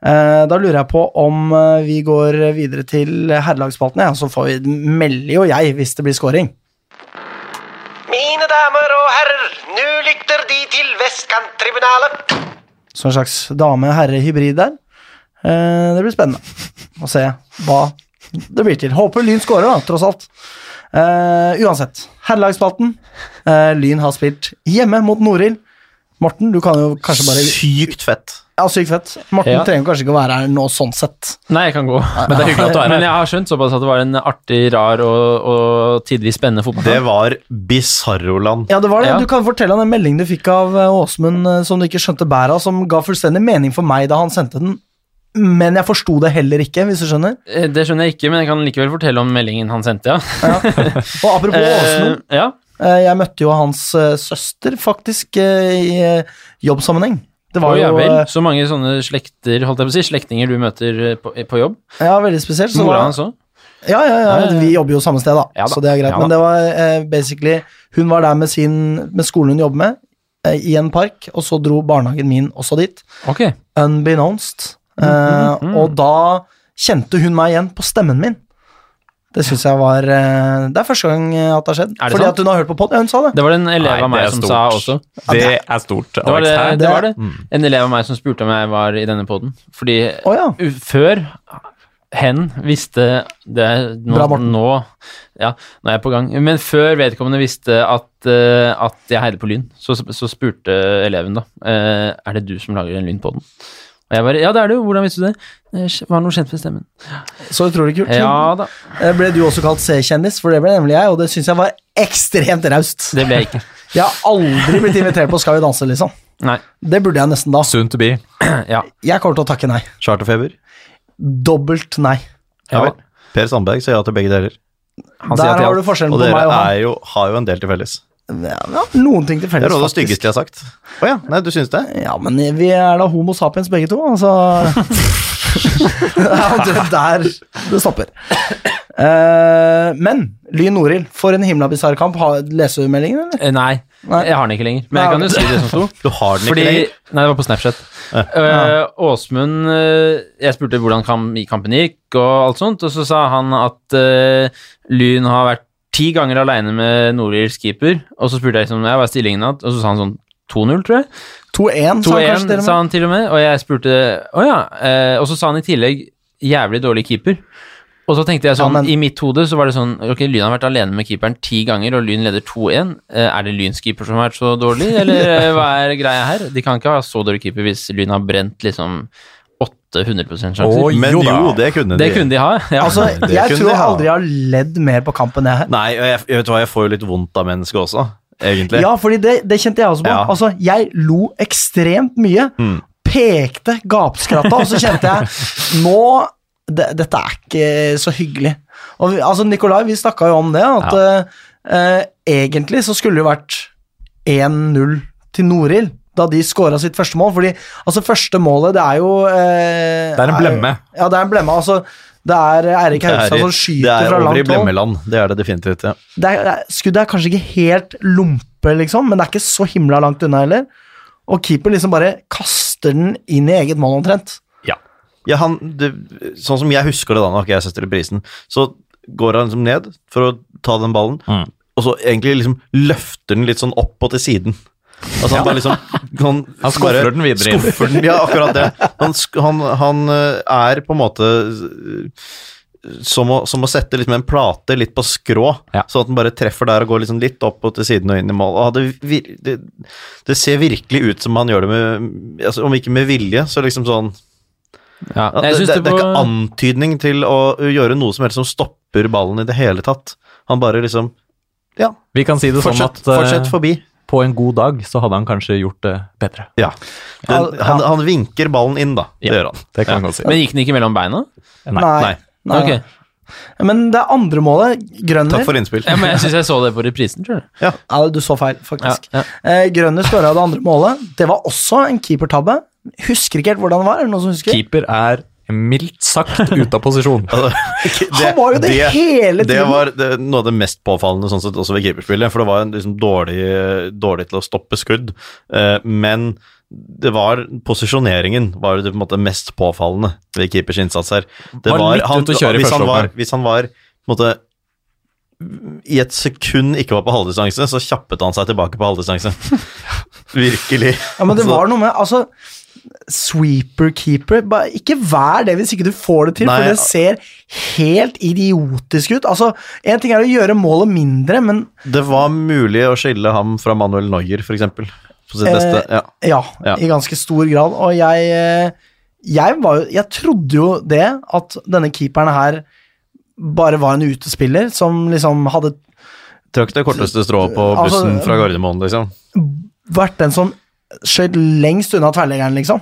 Speaker 1: Eh, Da lurer jeg på om eh, vi går videre til herrelagsspalten, ja, så får vi, melder jo jeg hvis det blir scoring.
Speaker 6: Mine damer og herrer, nå lytter De til Vestkanttribunalet.
Speaker 1: Så en slags dame-herre-hybrid der. Eh, Det blir spennende å se hva det blir til. Håper Lyn scorer, da, tross alt. Eh, uansett, herrelagsspalten. Eh, Lyn har spilt hjemme mot Norild. Morten, du kan jo kanskje bare
Speaker 2: Sykt fett.
Speaker 1: Ja, sykt fett. Morten
Speaker 3: Ja.
Speaker 1: trenger kanskje ikke å være her nå, sånn sett.
Speaker 3: Nei, jeg kan gå. Men
Speaker 4: det er hyggelig at du er her.
Speaker 3: Ah, Men jeg har skjønt såpass at det var en artig, rar og, og tidvis spennende
Speaker 2: Det
Speaker 3: fotballkamp.
Speaker 2: var bisarroland.
Speaker 1: Ja, det var det.
Speaker 3: Ja.
Speaker 1: Du kan fortelle han en melding du fikk av eh, Åsmund eh, som du ikke skjønte bæret av, som ga fullstendig mening for meg da han sendte den. Men jeg forsto det heller ikke, hvis du skjønner.
Speaker 3: Eh, Det skjønner jeg ikke, men jeg kan likevel fortelle om meldingen han sendte, ja.
Speaker 1: Og apropos Åsmund,
Speaker 3: Eh, ja.
Speaker 1: Eh, Jeg møtte jo hans eh, søster, faktisk, eh, i eh, jobbsammenheng. Det var
Speaker 3: Oi, ja
Speaker 1: jo
Speaker 3: vel.
Speaker 1: eh,
Speaker 3: Så mange sånne slekter, holdt jeg på å si, slektninger du møter eh, på, på jobb.
Speaker 1: ja, veldig spesielt. Så
Speaker 3: Mora
Speaker 1: var,
Speaker 3: hans òg.
Speaker 1: ja, ja, ja,
Speaker 3: Ja, ja, ja.
Speaker 1: vi jobber jo samme sted, da,
Speaker 3: Ja da,
Speaker 1: så det er greit.
Speaker 3: ja
Speaker 1: men det var eh, basically Hun var der med, sin, med skolen hun jobber med, eh, i en park, og så dro barnehagen min også dit.
Speaker 3: Ok.
Speaker 1: Unbeknownst.
Speaker 3: Mm,
Speaker 1: Eh, Og da kjente hun meg igjen på stemmen min. Det syns jeg var eh, Det er første gang eh, at det har skjedd.
Speaker 3: Er det
Speaker 1: Fordi
Speaker 3: sant?
Speaker 1: at hun har hørt på pod. Ja, hun sa det.
Speaker 3: Det var det en elev
Speaker 4: Nei,
Speaker 3: av meg
Speaker 4: det er
Speaker 3: som
Speaker 4: stort.
Speaker 3: sa også.
Speaker 4: Det er stort.
Speaker 3: Det var
Speaker 4: Alex.
Speaker 3: det,
Speaker 4: Her-
Speaker 3: det, var det.
Speaker 1: det-
Speaker 3: En elev av meg som spurte om jeg var i denne poden. Fordi
Speaker 1: Å ja.
Speaker 3: u- før hen visste det nå,
Speaker 1: Bra, Morten.
Speaker 3: nå Ja, nå er jeg på gang. Men før vedkommende visste at, eh, at jeg heide på Lyn, så, så spurte eleven da eh, Er det du som lager den lyden på den? Og jeg bare Ja, det er du. Hvordan visste du det? Det var noe kjent ved stemmen.
Speaker 1: Så utrolig kult.
Speaker 3: Ja da.
Speaker 1: Eh, Ble du også kalt C-kjendis, for det ble nemlig jeg, og det syns jeg var ekstremt raust.
Speaker 3: Det ble jeg ikke.
Speaker 1: Jeg har aldri blitt invitert på Skal vi danse, liksom.
Speaker 3: Nei.
Speaker 1: Det burde jeg nesten da.
Speaker 4: Soon to be.
Speaker 3: Ja.
Speaker 1: Jeg kommer til å takke nei.
Speaker 2: Charterfeber.
Speaker 1: Dobbelt nei.
Speaker 2: Ja
Speaker 3: Ja.
Speaker 2: vel. Per Sandberg sier ja til begge deler.
Speaker 3: Han sier
Speaker 1: Der
Speaker 3: at
Speaker 1: har du
Speaker 3: jeg,
Speaker 1: forskjellen
Speaker 2: Og
Speaker 1: på
Speaker 2: dere
Speaker 1: meg og han.
Speaker 2: er jo, har jo en del til felles.
Speaker 1: Ja, vi har noen ting til
Speaker 2: Det er
Speaker 1: felles,
Speaker 2: noe av det
Speaker 1: faktisk.
Speaker 2: styggeste jeg har sagt. Å ja, nei, du syns det?
Speaker 1: Ja, men vi er da homo sapiens begge to, altså. ja, det er der det stopper. Eh, men Lyn Norild, for en himla bisarr kamp. Har- Leser du meldingen, eller?
Speaker 3: Eh, Nei,
Speaker 1: Nei.
Speaker 3: jeg har den ikke lenger. Men jeg
Speaker 1: Nei,
Speaker 3: kan jo si det som sto.
Speaker 2: Du har den ikke
Speaker 3: Fordi,
Speaker 2: lenger.
Speaker 3: nei, det var på Snapchat. Eh, Åsmund eh, Jeg spurte hvordan kam- i kampen gikk, og alt sånt, og så sa han at eh, Lyn har vært ti ganger aleine med Nordirsk keeper, og så spurte jeg liksom, ja, hva er stillingen da? og så sa han sånn 2-0, tror jeg.
Speaker 1: 2-1, sa han kanskje
Speaker 3: 2-1,
Speaker 1: dere
Speaker 3: sa
Speaker 1: med.
Speaker 3: han til og med, og jeg spurte Å ja. Eh, og så sa han i tillegg jævlig dårlig keeper. Og så tenkte jeg sånn,
Speaker 1: Ja, men-
Speaker 3: i mitt hode så var det sånn Ok, Lyn har vært alene med keeperen ti ganger, og Lyn leder 2-1. Eh, er det Lyns keeper som har vært så dårlig, eller eh, hva er greia her? De kan ikke ha så dårlig keeper hvis Lyn har brent liksom 800 sjanser.
Speaker 4: Oi,
Speaker 2: Men
Speaker 4: jo
Speaker 2: jo,
Speaker 4: da.
Speaker 2: det kunne
Speaker 3: det
Speaker 2: de.
Speaker 3: kunne de ha, ja.
Speaker 1: Altså,
Speaker 2: det
Speaker 1: jeg
Speaker 2: kunne
Speaker 1: tror
Speaker 2: de
Speaker 1: jeg
Speaker 2: ha.
Speaker 1: aldri har ledd mer på kampen, jeg her.
Speaker 2: Nei, og jeg, jeg vet hva, jeg får jo litt vondt av mennesket også. egentlig.
Speaker 1: Ja, fordi det, det kjente jeg også på.
Speaker 2: Ja.
Speaker 1: Altså, jeg lo ekstremt mye.
Speaker 2: Mm.
Speaker 1: Pekte, gapskratta, og så kjente jeg Nå det, Dette er ikke så hyggelig. Og vi, altså, Nikolai, vi snakka jo om det, at eh, eh, egentlig så skulle det jo vært 1-0 til Norild da de scora sitt første mål. Fordi altså, første målet, det er jo eh,
Speaker 4: Det er en blemme.
Speaker 1: ja, det er en blemme. Altså, det er Eirik
Speaker 2: Det er,
Speaker 1: Haugstad
Speaker 2: i-
Speaker 1: som
Speaker 2: det
Speaker 1: altså, skyter
Speaker 2: er
Speaker 1: fra
Speaker 2: over i
Speaker 1: langt hold
Speaker 2: blemmeland, det er det definitivt. Ja.
Speaker 1: det er, det er, skuddet er kanskje ikke helt lompe, liksom, men det er ikke så himla langt unna heller. Og keeper liksom bare kaster den inn i eget mål, omtrent.
Speaker 2: Ja, han, det, sånn som jeg husker det da, nå har ikke jeg sett reprisen, så går han liksom ned for å ta den ballen,
Speaker 4: Mm.
Speaker 2: og så egentlig liksom løfter den litt sånn opp og til siden. Altså han bare liksom Han,
Speaker 4: Han skuffer den videre inn.
Speaker 2: skuffer den, ja, akkurat det. Han, sk- han, han eh, er på en måte eh, som å, som å sette liksom en plate litt på skrå,
Speaker 4: Ja.
Speaker 2: sånn at den bare treffer der og går liksom litt opp og til siden og inn i mål. Og det, vir, det, det ser virkelig ut som han gjør det med altså, Om ikke med vilje, så liksom sånn
Speaker 3: Ja,
Speaker 2: ja,
Speaker 3: jeg
Speaker 2: det,
Speaker 3: synes
Speaker 2: det,
Speaker 3: det,
Speaker 2: det er ikke
Speaker 3: på,
Speaker 2: antydning til å gjøre noe som helst som stopper ballen i det hele tatt. Han bare liksom Ja,
Speaker 4: Vi kan si det sånn
Speaker 2: fortsett,
Speaker 4: at eh,
Speaker 2: fortsett forbi.
Speaker 4: på en god dag så hadde han kanskje gjort det bedre.
Speaker 2: Ja. Den,
Speaker 1: Ja,
Speaker 2: han, han vinker ballen inn, da. Det
Speaker 4: Ja.
Speaker 2: gjør han.
Speaker 4: Det kan jeg godt si.
Speaker 3: men gikk den ikke mellom beina?
Speaker 4: Nei.
Speaker 2: Nei.
Speaker 1: Nei.
Speaker 3: Ok.
Speaker 1: Men det er andre målet, Grønner
Speaker 2: Takk for innspill.
Speaker 3: Ja, men jeg syns jeg så det på reprisen, tror jeg.
Speaker 1: ja, Du så feil,
Speaker 3: Ja,
Speaker 1: faktisk.
Speaker 3: ja.
Speaker 1: Eh, Grønner skåra det andre målet. Det var også en keepertabbe. Husker ikke helt hvordan det var. Er det noen som husker?
Speaker 4: Keeper er mildt sagt ute av posisjon.
Speaker 2: Altså,
Speaker 1: Han var jo det hele
Speaker 2: Det
Speaker 1: tiden.
Speaker 2: var det, noe av det mest påfallende sånn sett også ved keeperspillet, for det var en liksom dårlig, dårlig til å stoppe skudd. Eh, men det var posisjoneringen var det på en måte mest påfallende ved keepers innsats her. Det
Speaker 4: Var litt ute å kjøre i
Speaker 2: hvis,
Speaker 4: første
Speaker 2: han var,
Speaker 4: omgang.
Speaker 2: hvis han var på en måte i et sekund ikke var på halvdistanse, så kjappet han seg tilbake på halvdistanse. Virkelig.
Speaker 1: Ja, men det
Speaker 2: Så-
Speaker 1: var noe med Altså, sweeper-keeper bare Ikke vær det hvis ikke du får det til,
Speaker 2: Nei,
Speaker 1: for det ser helt idiotisk ut. Altså, En ting er å gjøre målet mindre, men
Speaker 2: det var mulig å skille ham fra Manuel Neuer, for eksempel. På sitt
Speaker 1: Eh,
Speaker 2: beste. Ja.
Speaker 1: Ja,
Speaker 2: Ja.
Speaker 1: i ganske stor grad. Og jeg, eh, jeg, var, jo- jeg trodde jo det, at denne keeperen her bare var en utespiller som liksom hadde
Speaker 2: Trakk det korteste strået på
Speaker 1: Altså,
Speaker 2: bussen fra Gardermoen, liksom.
Speaker 1: vært den som skjøt lengst unna tverrleggeren, liksom.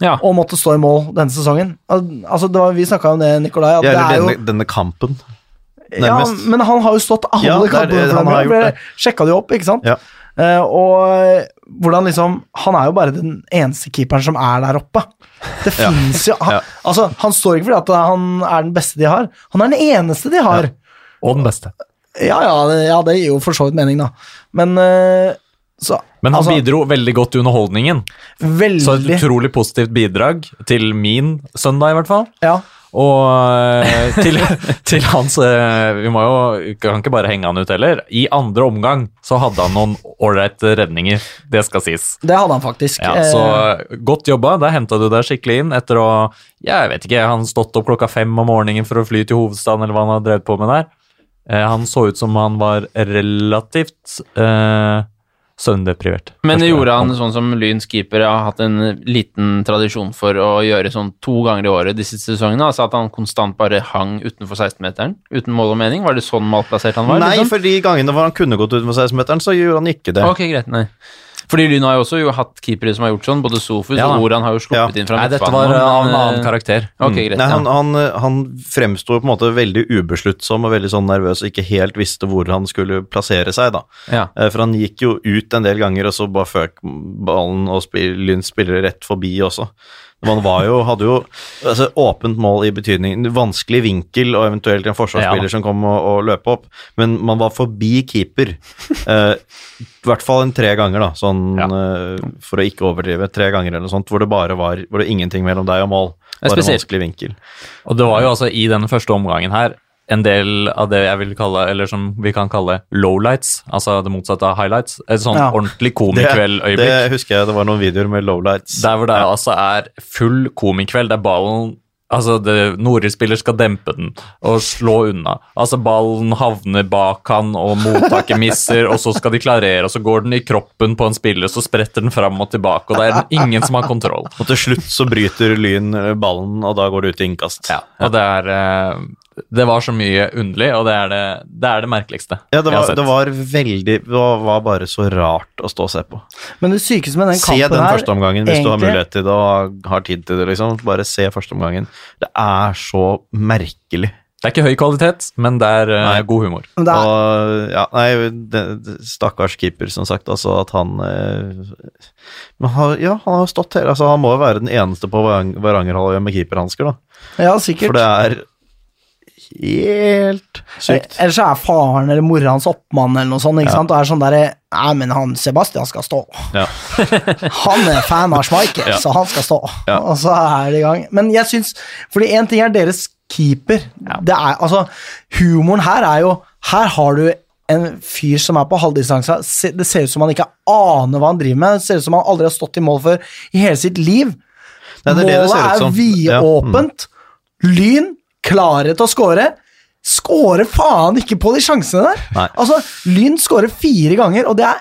Speaker 3: Ja.
Speaker 1: Og måtte stå i mål denne sesongen. Al- Altså, det var, vi snakka om det, Nikolai. At
Speaker 2: Ja,
Speaker 1: det
Speaker 2: eller
Speaker 1: er jo,
Speaker 2: denne, denne kampen.
Speaker 1: ja,
Speaker 2: nærmest.
Speaker 1: men han har jo stått alle
Speaker 2: Ja, det er
Speaker 1: kampene
Speaker 2: det
Speaker 1: for
Speaker 2: han har
Speaker 1: dem.
Speaker 2: gjort,
Speaker 1: Jeg
Speaker 2: det.
Speaker 1: Sjekka det jo opp, ikke sant?
Speaker 2: Ja.
Speaker 1: Eh, og hvordan liksom Han er jo bare den eneste keeperen som er der oppe. Det
Speaker 2: Ja.
Speaker 1: finnes jo han,
Speaker 2: Ja.
Speaker 1: Altså, han står ikke fordi at han er den beste de har. Han er den eneste de har.
Speaker 4: Og den beste.
Speaker 1: Ja, ja, det, ja, det gir jo for så vidt mening, da. Men eh, så
Speaker 4: Men han
Speaker 1: altså,
Speaker 4: bidro veldig godt til underholdningen. Så
Speaker 1: Veldig.
Speaker 4: et utrolig positivt bidrag til min søndag, i hvert fall.
Speaker 1: Ja.
Speaker 4: Og eh, til, til hans eh, Vi må jo, kan ikke bare henge han ut heller. I andre omgang så hadde han noen ålreite redninger. Det skal sies.
Speaker 1: Det hadde han faktisk.
Speaker 4: Ja,
Speaker 1: Eh,
Speaker 4: så godt jobba. Der henta du deg skikkelig inn etter å ja, Jeg vet ikke, han stått opp klokka fem om morgenen for å fly til hovedstaden, eller hva han har drevet på med der. Eh, han så ut som han var relativt eh, søvndeprivert.
Speaker 3: Men det
Speaker 4: Første
Speaker 3: gjorde
Speaker 4: gang.
Speaker 3: han sånn som Lyns keeper har hatt en liten tradisjon for å gjøre sånn to ganger i året de siste sesongene. Altså at han konstant bare hang utenfor 16-meteren uten mål og mening. Var det sånn malplassert han var?
Speaker 2: Nei,
Speaker 3: liksom?
Speaker 2: for de gangene hvor han kunne gått utenfor 16-meteren, så gjorde han ikke det.
Speaker 3: Ok, greit, nei. Fordi Lyn har jo også jo hatt keepere som har gjort sånn. Både Sofus
Speaker 4: Ja.
Speaker 3: og Oran har jo sluppet
Speaker 2: Ja.
Speaker 3: inn fra
Speaker 4: Nei, dette var eh, av en annen karakter.
Speaker 3: Ok, greit.
Speaker 2: Nei, han,
Speaker 3: ja.
Speaker 2: han, han fremsto på en måte veldig ubesluttsom og veldig sånn nervøs og ikke helt visste hvor han skulle plassere seg, da.
Speaker 3: Ja.
Speaker 2: Eh, For han gikk jo ut en del ganger, og så bare føk ballen og spill, Lund spillere rett forbi også. Men Han var jo, hadde jo altså, åpent mål i betydning vanskelig vinkel og eventuelt en forsvarsspiller
Speaker 4: Ja.
Speaker 2: som kom og, og løp opp, men man var forbi keeper. Eh, I hvert fall en tre ganger, da, sånn eh, for å ikke overdrive. Tre ganger eller noe sånt, hvor det bare var hvor det ingenting mellom deg og mål.
Speaker 3: er
Speaker 2: Bare
Speaker 3: spesielt.
Speaker 2: vanskelig vinkel.
Speaker 4: Og det var jo altså i den første omgangen her en del av det jeg vil kalle, eller som vi kan kalle lowlights, altså det motsatte av highlights. Et sånn
Speaker 1: Ja.
Speaker 2: Det,
Speaker 4: ordentlig
Speaker 2: det
Speaker 4: komikveldøyeblikk.
Speaker 2: husker jeg det var noen videoer med lowlights.
Speaker 4: Der hvor det altså er full komikveld, der ballen Altså, det- Norild-spiller skal dempe den og slå unna. Altså, ballen havner bak han, og mottaket misser, og så skal de klarere, og så går den i kroppen på en spiller, så spretter den fram og tilbake, og det er ingen som har kontroll.
Speaker 2: Og til slutt så bryter Lyn eh, ballen, og da går det ut i innkast.
Speaker 4: Og det er eh, Det var så mye underlig, og det er det, det, er det merkeligste
Speaker 2: Ja, det
Speaker 4: jeg har
Speaker 2: var,
Speaker 4: sett.
Speaker 2: det var veldig Det var var bare så rart å stå og se på.
Speaker 1: Men det sykeste med den
Speaker 2: Se
Speaker 1: kampen
Speaker 2: den
Speaker 1: her
Speaker 2: første omgangen hvis du har
Speaker 1: egentlig-
Speaker 2: mulighet til det og har tid til det. liksom. Bare se første omgangen. Det er så merkelig.
Speaker 4: Det er ikke høy kvalitet, men det er eh,
Speaker 2: Nei.
Speaker 4: god humor.
Speaker 1: Men det er,
Speaker 2: Og ja, nei, det, det, stakkars keeper, som sagt. Altså at han eh, Men han, ja, han har stått hele altså, Han må jo være den eneste på Varang- Varangerhalvøya med keeperhansker, da.
Speaker 1: ja, sikkert.
Speaker 2: For det er helt sykt.
Speaker 1: Eller så er faren eller mora hans oppmann eller noe sånt, ikke
Speaker 2: Ja.
Speaker 1: sant? Og er sånn derre Nei, men han Sebastian skal stå.
Speaker 2: Ja.
Speaker 1: han er fan av Schmeichel,
Speaker 2: Ja.
Speaker 1: så han skal stå.
Speaker 2: Ja.
Speaker 1: Og så er det i gang. Men jeg syns Fordi én ting er deres keeper. Det er altså Humoren her er jo Her har du en fyr som er på halvdistanse. Se- Det ser ut som han ikke aner hva han driver med. Det ser ut som han aldri har stått i mål før i hele sitt liv.
Speaker 2: Nei, det er det det ser ut
Speaker 1: Målet
Speaker 2: som.
Speaker 1: er
Speaker 2: Ja, mm.
Speaker 1: vidåpent. Lyn klare til å score. Skårer faen ikke på de sjansene der!
Speaker 2: Nei.
Speaker 1: Altså, Lyn skårer fire ganger, og det er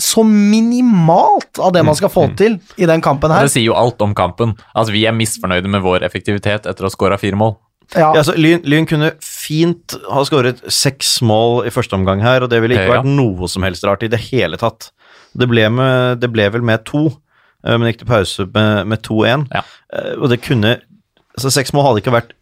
Speaker 1: så minimalt av det man skal
Speaker 2: Mm.
Speaker 1: få til i den kampen
Speaker 4: Og
Speaker 1: her.
Speaker 4: det sier jo alt om kampen. Altså, Vi er misfornøyde med vår effektivitet etter å ha skåra fire mål.
Speaker 1: Ja,
Speaker 2: Ja, altså, Lyn, Lyn kunne fint ha skåret seks mål i første omgang her, og det ville ikke
Speaker 4: Ja.
Speaker 2: vært noe som helst rart i det hele tatt. Det ble, med, det ble vel med to, eh, men gikk til pause med, med 2-1.
Speaker 4: Ja.
Speaker 2: Eh, Og det kunne altså, Seks mål hadde ikke vært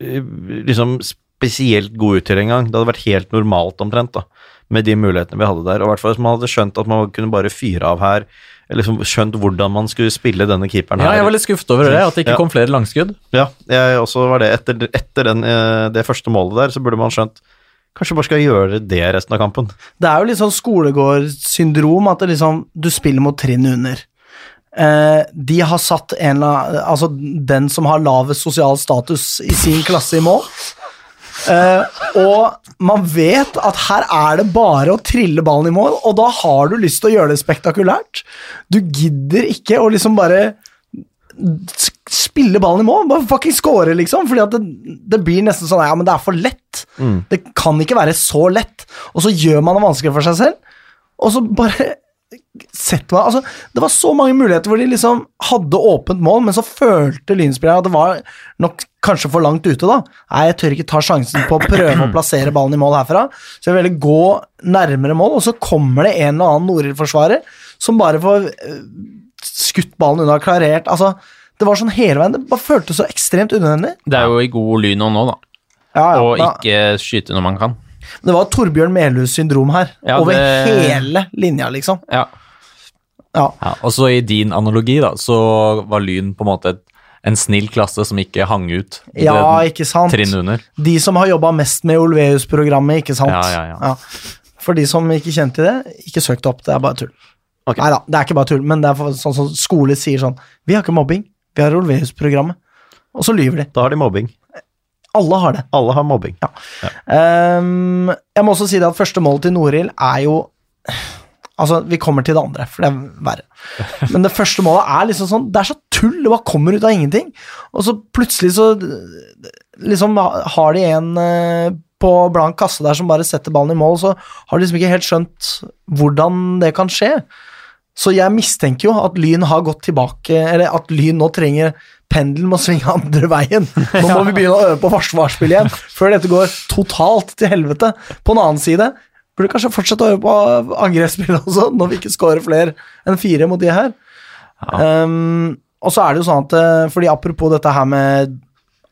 Speaker 2: eh, liksom spesielt god uttelling engang. Det hadde vært helt normalt omtrent, da, med de mulighetene vi hadde der. Og i hvert fall hvis man hadde skjønt at man kunne bare fyre av her, eller liksom skjønt hvordan man skulle spille denne keeperen
Speaker 4: Ja,
Speaker 2: her.
Speaker 4: jeg var litt skuffet over det, at det ikke
Speaker 2: Ja.
Speaker 4: kom flere langskudd.
Speaker 2: Ja, jeg også var det. Etter, etter den, eh, det første målet der, så burde man skjønt Kanskje bare skal gjøre det resten av kampen.
Speaker 1: Det er jo litt sånn skolegårdssyndrom at det liksom, du spiller mot trinn under. Eh, de har satt en eller annen Altså, den som har lavest sosial status i sin klasse i mål. Eh, og man vet at her er det bare å trille ballen i mål, og da har du lyst til å gjøre det spektakulært. Du gidder ikke å liksom bare s- spille ballen i mål, bare fucking score, liksom. Fordi at det, det blir nesten sånn Ja, men det er for lett. Det kan ikke være så lett. Og så gjør man det vanskelig for seg selv, og så bare setter man Altså, det var så mange muligheter hvor de liksom hadde åpent mål, men så følte lynspillerne at det var nok kanskje for langt ute, da. Nei, jeg tør ikke ta sjansen på å prøve å plassere ballen i mål herfra, så jeg vil heller gå nærmere mål, og så kommer det en eller annen Noril-forsvarer som bare får eh, skutt ballen unna, klarert Altså, det var sånn hele veien. Det bare føltes så ekstremt unødvendig.
Speaker 3: Det er jo i god lyn nå, da.
Speaker 1: Ja, ja,
Speaker 3: Og
Speaker 1: da-
Speaker 3: ikke skyte når man kan.
Speaker 1: Det var Torbjørn Melhus syndrom her.
Speaker 3: Ja,
Speaker 1: over
Speaker 3: det-
Speaker 1: hele linja, liksom.
Speaker 3: Ja.
Speaker 1: Ja.
Speaker 4: Ja, og så i din analogi, da, så var Lyn på en måte et, en snill klasse som ikke hang ut. i
Speaker 1: ja,
Speaker 4: det
Speaker 1: ikke sant.
Speaker 4: Trinn under.
Speaker 1: De som har jobba mest med Olveus-programmet, ikke sant.
Speaker 4: Ja, ja, ja.
Speaker 1: For de som ikke kjente det, ikke søk det opp. Det er bare tull.
Speaker 2: Ok.
Speaker 1: Nei da, det er ikke bare tull, men det er for, sånn som skole sier sånn Vi har ikke mobbing, vi har Olveus-programmet. Og så lyver de.
Speaker 2: Da har de mobbing.
Speaker 1: Alle har det.
Speaker 2: Alle har mobbing.
Speaker 1: Ehm, jeg må også si det at første målet til Noril er jo Altså, vi kommer til det andre, for det er verre. Men det første målet er liksom sånn Det er så tull! Det bare kommer ut av ingenting. Og så plutselig så liksom ha- har de en eh, på blank kasse der som bare setter ballen i mål, så har de liksom ikke helt skjønt hvordan det kan skje. Så jeg mistenker jo at Lyn har gått tilbake, eller at Lyn nå trenger pendelen må svinge andre veien. Nå må vi begynne å øve på forsvarsspill igjen, før dette går totalt til helvete. På den annen side burde vi kanskje fortsette å øve på angrepsspill også, når vi ikke scorer flere enn fire mot de her. Um, og så er det jo sånn at, eh, fordi apropos dette her med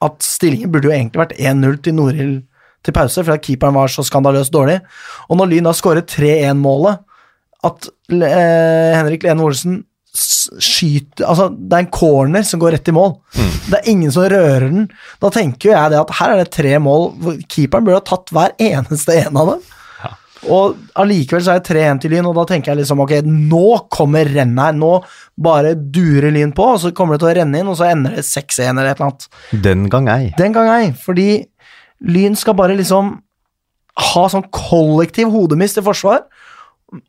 Speaker 1: at stillingen burde jo egentlig vært 1-0 til Norhild til pause, fordi at keeperen var så skandaløst dårlig. Og når Lyn da skårer 3-1-målet, at eh, Henrik Lene Olsen s- skyter Altså, det er en corner som går rett i mål. Det er ingen som rører den. Da tenker jo jeg det at her er det tre mål hvor keeperen burde ha tatt hver eneste en av dem. Og allikevel så er det 3-1 til Lyn, og da tenker jeg liksom ok, nå kommer rennet her. Nå bare durer Lyn på, og så kommer det til å renne inn, og så ender det 6-1 eller et eller annet.
Speaker 2: Den gang ei.
Speaker 1: Den gang ei, fordi Lyn skal bare liksom ha sånn kollektiv hodemist i forsvar,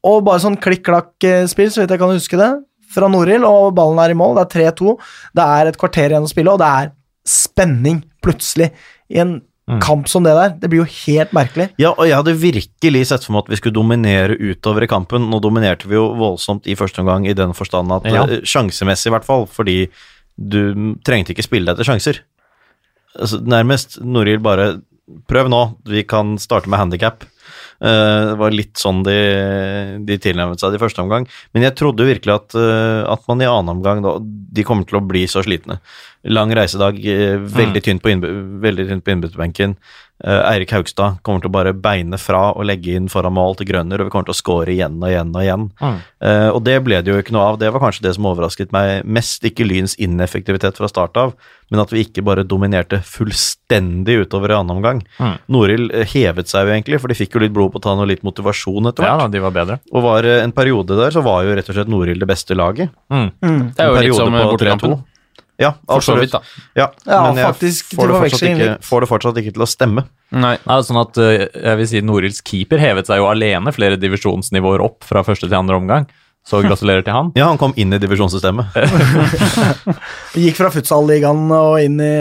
Speaker 1: og bare sånn klikk-klakk-spill, så vidt jeg kan huske det, fra Norhild, og ballen er i mål. Det er 3-2. Det er et kvarter igjen å spille, og det er spenning, plutselig, i en kamp som det der. Det blir jo helt merkelig.
Speaker 2: Ja, og jeg hadde virkelig sett for meg at vi skulle dominere utover i kampen. Nå dominerte vi jo voldsomt i første omgang i den forstand at
Speaker 4: Ja.
Speaker 2: eh, sjansemessig, i hvert fall, fordi du mm, trengte ikke spille deg til sjanser. altså, nærmest Noril bare Prøv nå, vi kan starte med handikap. det var litt sånn de, de tilnærmet seg det i første omgang. Men jeg trodde virkelig at, eh, at man i annen omgang da, De kommer til å bli så slitne. Lang reisedag, eh, veldig tynt på, innby- veldig tynt på innbytterbenken. Eh, Eirik Haugstad kommer til å bare beine fra og legge inn foran mål til grønner, og vi kommer til å score igjen og igjen og igjen.
Speaker 3: Mm.
Speaker 2: Eh, og det ble det jo ikke noe av. Det var kanskje det som overrasket meg mest. Ikke Lyns ineffektivitet fra start av, men at vi ikke bare dominerte fullstendig utover i annen omgang.
Speaker 4: Mm.
Speaker 2: Noril eh, hevet seg jo egentlig, for de fikk jo litt blod på tann og litt motivasjon etter
Speaker 4: Ja
Speaker 2: hvert.
Speaker 4: da, de var bedre.
Speaker 2: Og var eh, en periode der så var jo rett og slett Noril det beste laget.
Speaker 4: Mm.
Speaker 1: Mm.
Speaker 3: Det er
Speaker 2: En
Speaker 3: jo litt
Speaker 2: periode
Speaker 3: som eh,
Speaker 2: på
Speaker 3: bortekampen.
Speaker 2: 3-2. Ja,
Speaker 3: For så vidt,
Speaker 2: absolutt.
Speaker 3: da.
Speaker 2: Ja,
Speaker 1: Ja,
Speaker 2: men jeg
Speaker 1: faktisk, til
Speaker 2: får det, fortsatt
Speaker 1: forveksling
Speaker 2: ikke,
Speaker 1: litt.
Speaker 2: får det fortsatt ikke til å stemme.
Speaker 3: Nei.
Speaker 4: Nei, sånn at eh, jeg vil si Norils keeper hevet seg jo alene flere divisjonsnivåer opp fra første til andre omgang, så gratulerer til han.
Speaker 2: Ja, han kom inn i divisjonssystemet.
Speaker 1: Gikk fra futsal-ligaen og inn i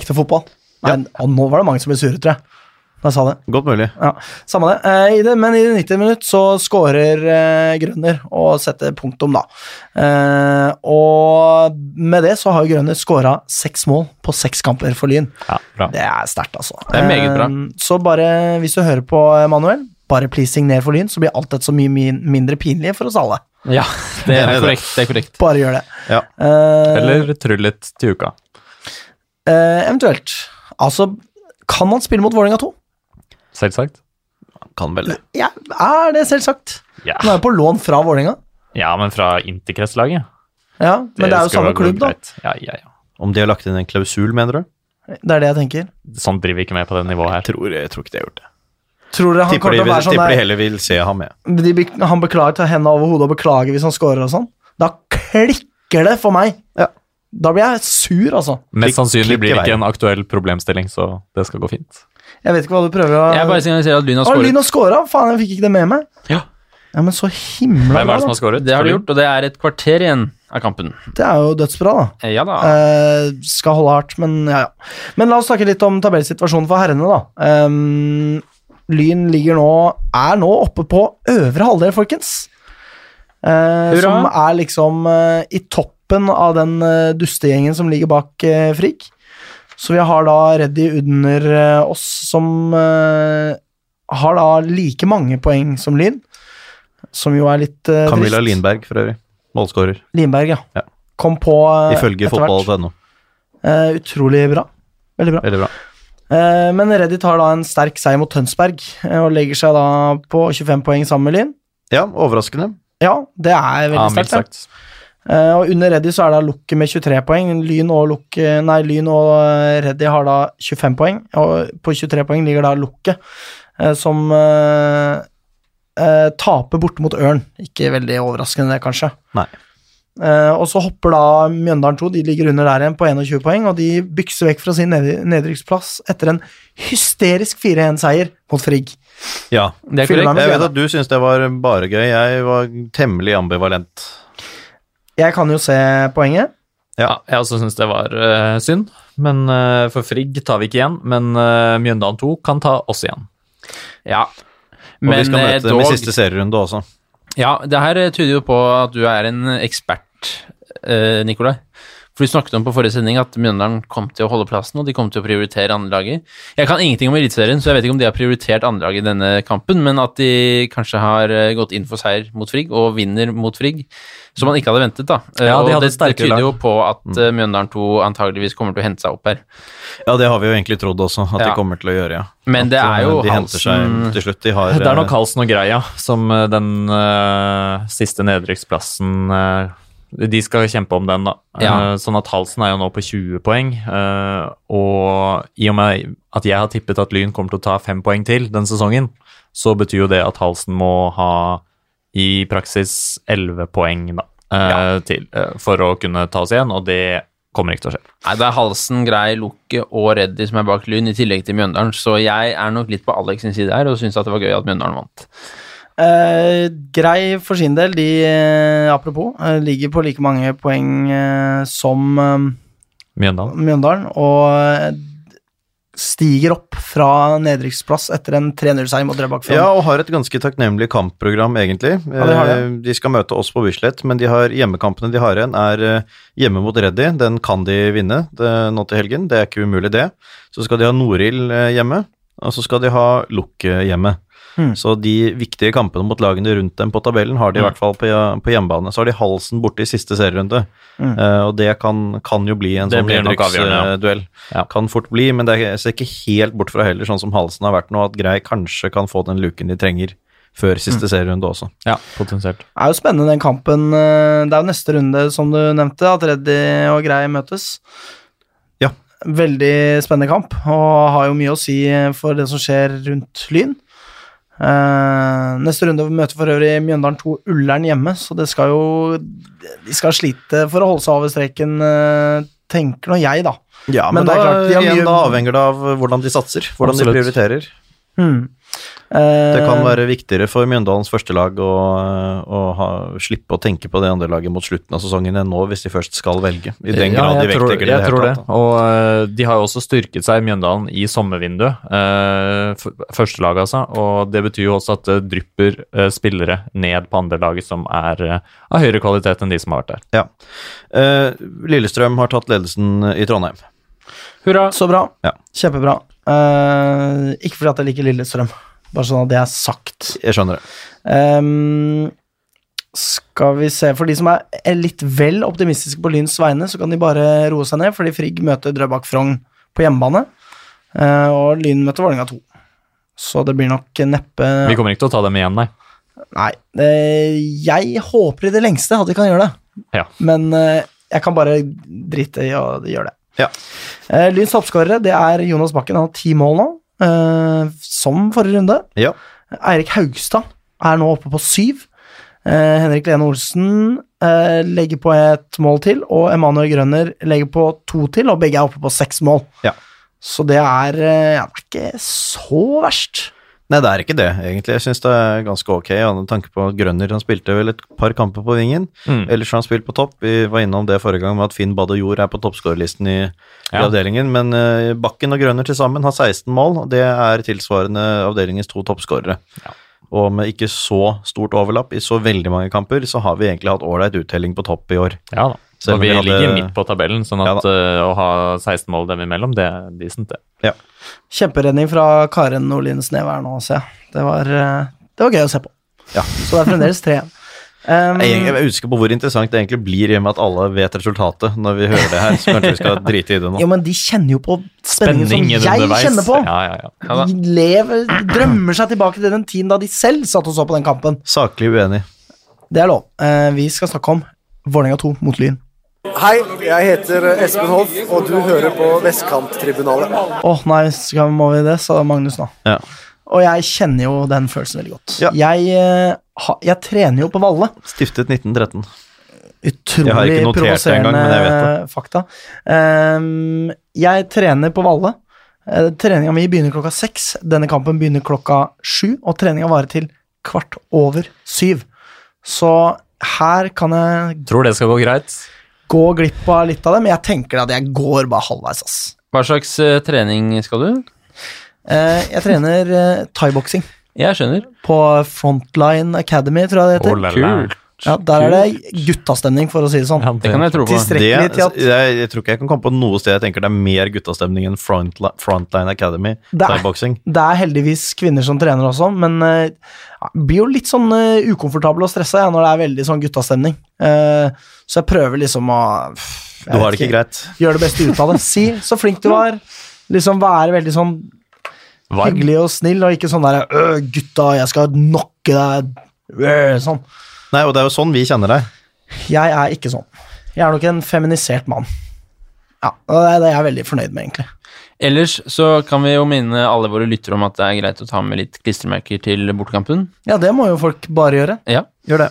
Speaker 1: ekte fotball. Nei, og nå var det mange som ble sure, tror jeg. Da jeg sa det.
Speaker 2: Godt mulig.
Speaker 1: Ja, Samme det. Eh, i det. Men i det 90 minutt så scorer eh, Grønner og setter punktum, da. Eh, og med det så har jo Grønner scora seks mål på seks kamper for Lyn.
Speaker 4: Ja, bra.
Speaker 1: Det er sterkt, altså.
Speaker 3: Det er meget bra.
Speaker 1: Eh, Så bare, hvis du hører på eh, Manuel, bare please signer for Lyn, så blir alt dette så mye min- mindre pinlig for oss alle.
Speaker 3: Ja, det
Speaker 2: Enig
Speaker 3: er
Speaker 2: i det.
Speaker 3: korrekt. Det er korrekt.
Speaker 1: Bare gjør det.
Speaker 2: Ja.
Speaker 1: Eh,
Speaker 4: Eller tryllet til uka.
Speaker 1: eh, eventuelt. Altså, kan han spille mot Vålerenga 2?
Speaker 4: Selvsagt.
Speaker 2: Kan vel det.
Speaker 1: Ja, er det selvsagt.
Speaker 4: Ja,
Speaker 1: Han er jo på lån fra Vålerenga.
Speaker 4: ja men fra interkretslaget.
Speaker 1: Ja, men det, er jo
Speaker 4: skal
Speaker 1: samme
Speaker 4: gå
Speaker 1: klubb, da.
Speaker 4: greit. Ja, ja, ja.
Speaker 2: Om de har lagt inn en klausul, mener du?
Speaker 1: Det er det jeg tenker.
Speaker 4: Sånn driver vi ikke med på det nivået her.
Speaker 2: tror, jeg tror ikke de har gjort det.
Speaker 1: Tror dere han
Speaker 2: Tipper
Speaker 1: kommer
Speaker 2: de,
Speaker 1: til å være sånn
Speaker 2: tipper de
Speaker 1: der
Speaker 2: heller vil se ham med.
Speaker 1: de, be- Han beklager, tar hendene over hodet og beklager hvis han scorer og sånn? Da klikker det for meg! Da blir jeg sur, altså.
Speaker 4: Mest sannsynlig
Speaker 2: klikk i
Speaker 4: blir det
Speaker 2: veien.
Speaker 4: ikke en aktuell problemstilling, så det skal gå fint.
Speaker 1: Jeg vet ikke hva du prøver å
Speaker 3: Jeg bare signaliserer at Lyn har
Speaker 1: Å, Lyn
Speaker 3: skåret.
Speaker 1: har scora! Faen, jeg fikk ikke det med meg.
Speaker 3: Ja.
Speaker 1: Ja, Men så himla
Speaker 4: Hvem
Speaker 1: bra,
Speaker 4: er det som har
Speaker 1: da.
Speaker 4: skåret?
Speaker 3: Det har
Speaker 4: For
Speaker 3: de
Speaker 4: Lyn?
Speaker 3: gjort, og det er et kvarter igjen av kampen.
Speaker 1: Det er jo dødsbra, da.
Speaker 3: Eh, Ja da.
Speaker 1: Eh, skal holde hardt, men ja, ja. Men la oss snakke litt om tabellsituasjonen for herrene, da. Ehm, lyn ligger nå er nå oppe på øvre halvdel, folkens. Eh,
Speaker 3: Hurra.
Speaker 1: som er liksom eh, i toppen av den eh, dustegjengen som ligger bak uh, Frigg. Så vi har da Reddy under eh, oss, som eh, har da like mange poeng som Lyn. Som jo er litt uh,
Speaker 2: Camilla Lindberg, for øvrig. Målskårer,
Speaker 1: Lindberg, ja.
Speaker 2: Ja.
Speaker 1: Kom på eh,
Speaker 2: ifølge
Speaker 1: etter hvert.
Speaker 2: fotball.no.
Speaker 1: Eh, utrolig bra. Veldig bra.
Speaker 2: Veldig bra.
Speaker 1: Eh, men Reddit har da en sterk seier mot Tønsberg eh, og legger seg da på 25 poeng sammen med Lyn.
Speaker 2: Ja, overraskende.
Speaker 1: Ja, det er
Speaker 4: Ja,
Speaker 1: veldig
Speaker 4: mildt
Speaker 1: sterkt.
Speaker 4: sagt.
Speaker 1: ja. Eh, og under Reddy så er det Lukke med 23 poeng. Lyn og, Lukke, nei, Lyn og eh, Reddy har da 25 poeng, og på 23 poeng ligger da Lukke, eh, som eh, eh, taper borte mot Ørn. Ikke veldig overraskende det, kanskje.
Speaker 2: Nei.
Speaker 1: Eh, og så hopper da Mjøndalen 2, de ligger under der igjen på 21 poeng, og de bykser vekk fra sin ned nedrykksplass etter en hysterisk 4-1-seier mot Frigg.
Speaker 2: Ja.
Speaker 3: Det er korrekt.
Speaker 1: Fyller
Speaker 2: Jeg vet at du syns det var bare gøy. Jeg var temmelig ambivalent.
Speaker 1: Jeg kan jo se poenget.
Speaker 4: Ja, jeg også syns det var eh, synd. Men eh, for Frigg tar vi ikke igjen. Men eh, Mjøndalen 2 kan ta oss igjen.
Speaker 3: Ja.
Speaker 2: Og vi
Speaker 3: Men
Speaker 2: skal
Speaker 3: eh,
Speaker 2: møte dem i
Speaker 3: dog
Speaker 2: siste serierunde også.
Speaker 3: Ja, det her eh, tyder jo på at du er en ekspert, eh, Nikolai. For du snakket om på forrige sending at Mjøndalen kom til å holde plassen, og de kom til å prioritere andrelaget. Jeg kan ingenting om Eliteserien, så jeg vet ikke om de har prioritert andrelaget i denne kampen, men at de kanskje har eh, gått inn for seier mot Frigg, og vinner mot Frigg, som man ikke hadde ventet, da. Eh,
Speaker 4: Ja, de
Speaker 3: og
Speaker 4: hadde
Speaker 3: det, det
Speaker 4: sterkere
Speaker 3: tyder
Speaker 4: lag.
Speaker 3: jo på at eh, Mjøndalen 2 antageligvis kommer til å hente seg opp her.
Speaker 2: Ja, det har vi jo egentlig trodd også, at de
Speaker 3: Ja.
Speaker 2: kommer til å gjøre, ja.
Speaker 3: Men det
Speaker 2: At,
Speaker 3: er jo
Speaker 2: eh, De henter seg
Speaker 3: Hansen-
Speaker 2: til slutt. De har
Speaker 4: Det er nok
Speaker 2: eh,
Speaker 4: Halsen og Greia som eh, den eh, siste nedrykksplassen eh, De skal kjempe om den, da.
Speaker 3: Ja.
Speaker 4: Eh, sånn at Halsen er jo nå på 20 poeng. eh, og i og med at jeg har tippet at Lyn kommer til å ta fem poeng til den sesongen, så betyr jo det at Halsen må ha i praksis 11 poeng da, eh, til eh, for å kunne ta oss igjen, og det kommer ikke til å skje.
Speaker 3: Nei, det er Halsen, Grei, Lukke og Reddy som er bak Lyn, i tillegg til Mjøndalen. Så jeg er nok litt på Alex sin side her, og syns at det var gøy at Mjøndalen vant.
Speaker 1: Eh, grei for sin del, de eh, apropos, eh, ligger på like mange poeng eh, som eh,
Speaker 4: Mjøndalen.
Speaker 1: Mjøndalen, og eh, stiger opp fra nedrykksplass etter en 3-0-seier mot Drøbak.
Speaker 2: Ja, og har et ganske takknemlig kampprogram, egentlig.
Speaker 1: Ja, de har det.
Speaker 2: Eh, De skal møte oss på Bislett, men de har hjemmekampene de har igjen, er eh, hjemme mot Reddy. Den kan de vinne det, nå til helgen, det er ikke umulig, det. Så skal de ha Norild eh, hjemme, og så skal de ha Lukke hjemme.
Speaker 1: Hmm.
Speaker 2: Så de viktige kampene mot lagene rundt dem på tabellen har de i
Speaker 3: Hmm.
Speaker 2: hvert fall på, på hjemmebane. Så har de halsen borte i siste serierunde,
Speaker 1: Hmm.
Speaker 2: Eh, og det kan, kan jo bli en
Speaker 4: Det
Speaker 2: sånn
Speaker 4: blir nok avgjørende, ja.
Speaker 2: nedrykksduell.
Speaker 4: Ja.
Speaker 2: Kan fort bli, men det er, jeg ser ikke helt bort fra heller, sånn som halsen har vært nå, at Grei kanskje kan få den luken de trenger før siste
Speaker 1: Hmm.
Speaker 2: serierunde også.
Speaker 4: Ja, potensielt.
Speaker 1: Det er jo spennende den kampen. eh, Det er jo neste runde, som du nevnte, at Reddy og Grei møtes.
Speaker 2: Ja.
Speaker 1: Veldig spennende kamp, og har jo mye å si for det som skjer rundt Lyn. Eh, neste runde møter for øvrig Mjøndalen 2 Ullern hjemme, så det skal jo De skal slite for å holde seg over streken, eh, tenker nå jeg, da.
Speaker 2: Ja,
Speaker 1: men
Speaker 2: men,
Speaker 1: det er
Speaker 2: da,
Speaker 1: klart, de har
Speaker 2: igjen,
Speaker 1: mye-
Speaker 2: da avhenger det av eh, hvordan de satser, hvordan
Speaker 4: Absolutt.
Speaker 2: de prioriterer.
Speaker 1: Hmm.
Speaker 2: Det kan
Speaker 1: Eh,
Speaker 2: være viktigere for Mjøndalens førstelag å, eh, å ha, slippe å tenke på det andre laget mot slutten av sesongen enn nå, hvis de først skal velge. I den grad de
Speaker 4: jeg tror,
Speaker 2: vektlegger det i
Speaker 4: jeg
Speaker 2: det
Speaker 4: tror
Speaker 2: hele
Speaker 4: det.
Speaker 2: tatt. da.
Speaker 4: Og eh, de har jo også styrket seg i Mjøndalen i sommervinduet. eh, f- Førstelaget, altså. Og det betyr jo også at det drypper eh, spillere ned på andrelaget som er eh, av høyere kvalitet enn de som har vært der.
Speaker 2: Ja. Eh, Lillestrøm har tatt ledelsen i Trondheim.
Speaker 3: Hurra!
Speaker 1: Så bra.
Speaker 2: Ja.
Speaker 1: Kjempebra. Eh, ikke fordi at jeg liker Lillestrøm, bare sånn at det er sagt.
Speaker 2: Jeg skjønner det.
Speaker 1: Ehm, skal vi se For de som er er litt vel optimistiske på Lyns vegne, så kan de bare roe seg ned, fordi Frigg møter Drøbak Frogn på hjemmebane. eh, og Lyn møter Vålerenga 2. Så det blir nok neppe
Speaker 4: Vi kommer ikke til å ta dem igjen, nei.
Speaker 1: Nei. eh, jeg håper i det lengste at de kan gjøre det.
Speaker 4: Ja.
Speaker 1: Men eh, jeg kan bare drite i å gjøre det.
Speaker 2: Ja.
Speaker 1: Eh, Lyns toppskårere, det er Jonas Bakken. Han har ti mål nå, eh, som forrige runde.
Speaker 2: Ja.
Speaker 1: Eirik Haugstad er nå oppe på syv. Eh, Henrik Lene Olsen eh, legger på et mål til, og Emanuel Grønner legger på to til, og begge er oppe på seks mål.
Speaker 2: Ja.
Speaker 1: Så det er, eh, ja, det er ikke så verst.
Speaker 2: Nei, det er ikke det, egentlig. Jeg syns det er ganske ok, med tanke på at Grønner han spilte vel et par kamper på vingen.
Speaker 4: Mm.
Speaker 2: Ellers har han spilt på topp. Vi var innom det forrige gang med at Finn Bad og Jord er på toppskårerlisten i, i
Speaker 4: Ja.
Speaker 2: avdelingen. Men eh, Bakken og Grønner til sammen har 16 mål, og det er tilsvarende avdelingens to toppskårere.
Speaker 4: Ja.
Speaker 2: Og med ikke så stort overlapp i så veldig mange kamper, så har vi egentlig hatt ålreit uttelling på topp i år.
Speaker 4: Ja da.
Speaker 2: Selv om
Speaker 4: og vi
Speaker 2: vi hadde-
Speaker 4: ligger midt på tabellen, sånn
Speaker 2: Ja
Speaker 4: at eh, å ha 16 mål dem imellom, det er decent, det.
Speaker 1: Kjemperedning fra Karen Nordlien Sneve her nå, ser jeg. Det var, eh, det var gøy å se på.
Speaker 2: Ja.
Speaker 1: Så det er fremdeles tre igjen. Um,
Speaker 2: Jeg, jeg er usikker på hvor interessant det egentlig blir i og med at alle vet resultatet når vi hører det her, så kanskje vi skal drite i det nå.
Speaker 1: jo, men de kjenner jo på spenningen som
Speaker 4: Spenningen
Speaker 1: jeg kjenner på.
Speaker 4: Ja, ja, ja.
Speaker 3: Ja da.
Speaker 1: De lever, drømmer seg tilbake til den tiden da de selv satt og så på den kampen.
Speaker 2: Saklig uenig.
Speaker 1: Det er lov. Eh, vi skal snakke om Vålerenga 2 mot Lyn.
Speaker 7: Hei, jeg heter Espen Hoff, og du hører på Vestkanttribunalet.
Speaker 1: Åh, nei, skal, må vi det, sa Magnus nå.
Speaker 2: Ja.
Speaker 1: Og jeg kjenner jo den følelsen veldig godt.
Speaker 2: Ja.
Speaker 1: Jeg, eh, ha, jeg trener jo på Valle.
Speaker 2: Stiftet 1913.
Speaker 1: Utrolig
Speaker 2: Jeg har ikke notert det
Speaker 1: provoserende
Speaker 2: engang, men jeg vet
Speaker 1: fakta. Ehm, jeg trener på Valle. Eh, Treninga mi begynner klokka seks. Denne kampen begynner klokka sju, og treninga varer til kvart over syv. Så her kan jeg
Speaker 4: Tror det skal gå greit.
Speaker 1: gå glipp av litt av det, men jeg tenker at jeg går bare halvveis, ass.
Speaker 3: Hva slags eh, trening skal du?
Speaker 1: Eh, jeg trener eh, thaiboksing
Speaker 3: Jeg skjønner.
Speaker 1: på Frontline Academy, tror jeg det
Speaker 4: Oh,
Speaker 1: heter.
Speaker 4: la, la.
Speaker 3: Kult.
Speaker 1: Ja, der er det guttastemning, for å si det sånn.
Speaker 4: Ja,
Speaker 3: Det kan jeg tro på.
Speaker 1: Distrikt-
Speaker 2: Det,
Speaker 1: Strekkelig til at-
Speaker 2: jeg, jeg tror ikke jeg kan komme på noe sted jeg tenker det er mer guttastemning enn Frontline, frontline Academy
Speaker 1: Det er-
Speaker 2: thaiboksing.
Speaker 1: Det er heldigvis kvinner som trener også, men eh, ja, blir jo litt sånn eh, ukomfortabel og stressa jeg, når det er veldig sånn guttastemning. Eh, så jeg prøver liksom å pff, jeg
Speaker 2: Du har
Speaker 1: vet
Speaker 2: det ikke greit.
Speaker 1: Gjøre det beste ut av det. Si 'så flink du var'. Liksom være veldig sånn
Speaker 4: Varm.
Speaker 1: hyggelig og snill, og ikke sånn derre 'Øh, gutta, jeg skal knocke deg'. Øh, sånn.
Speaker 2: Nei, og det er jo sånn vi kjenner deg.
Speaker 1: Jeg er ikke sånn. Jeg er nok en feminisert mann. Ja, og det er det jeg er veldig fornøyd med, egentlig.
Speaker 3: Ellers så kan vi jo minne alle våre lyttere om at det er greit å ta med litt klistremerker til bortekampen.
Speaker 1: Ja, det må jo folk bare gjøre.
Speaker 3: Ja.
Speaker 2: Gjør det.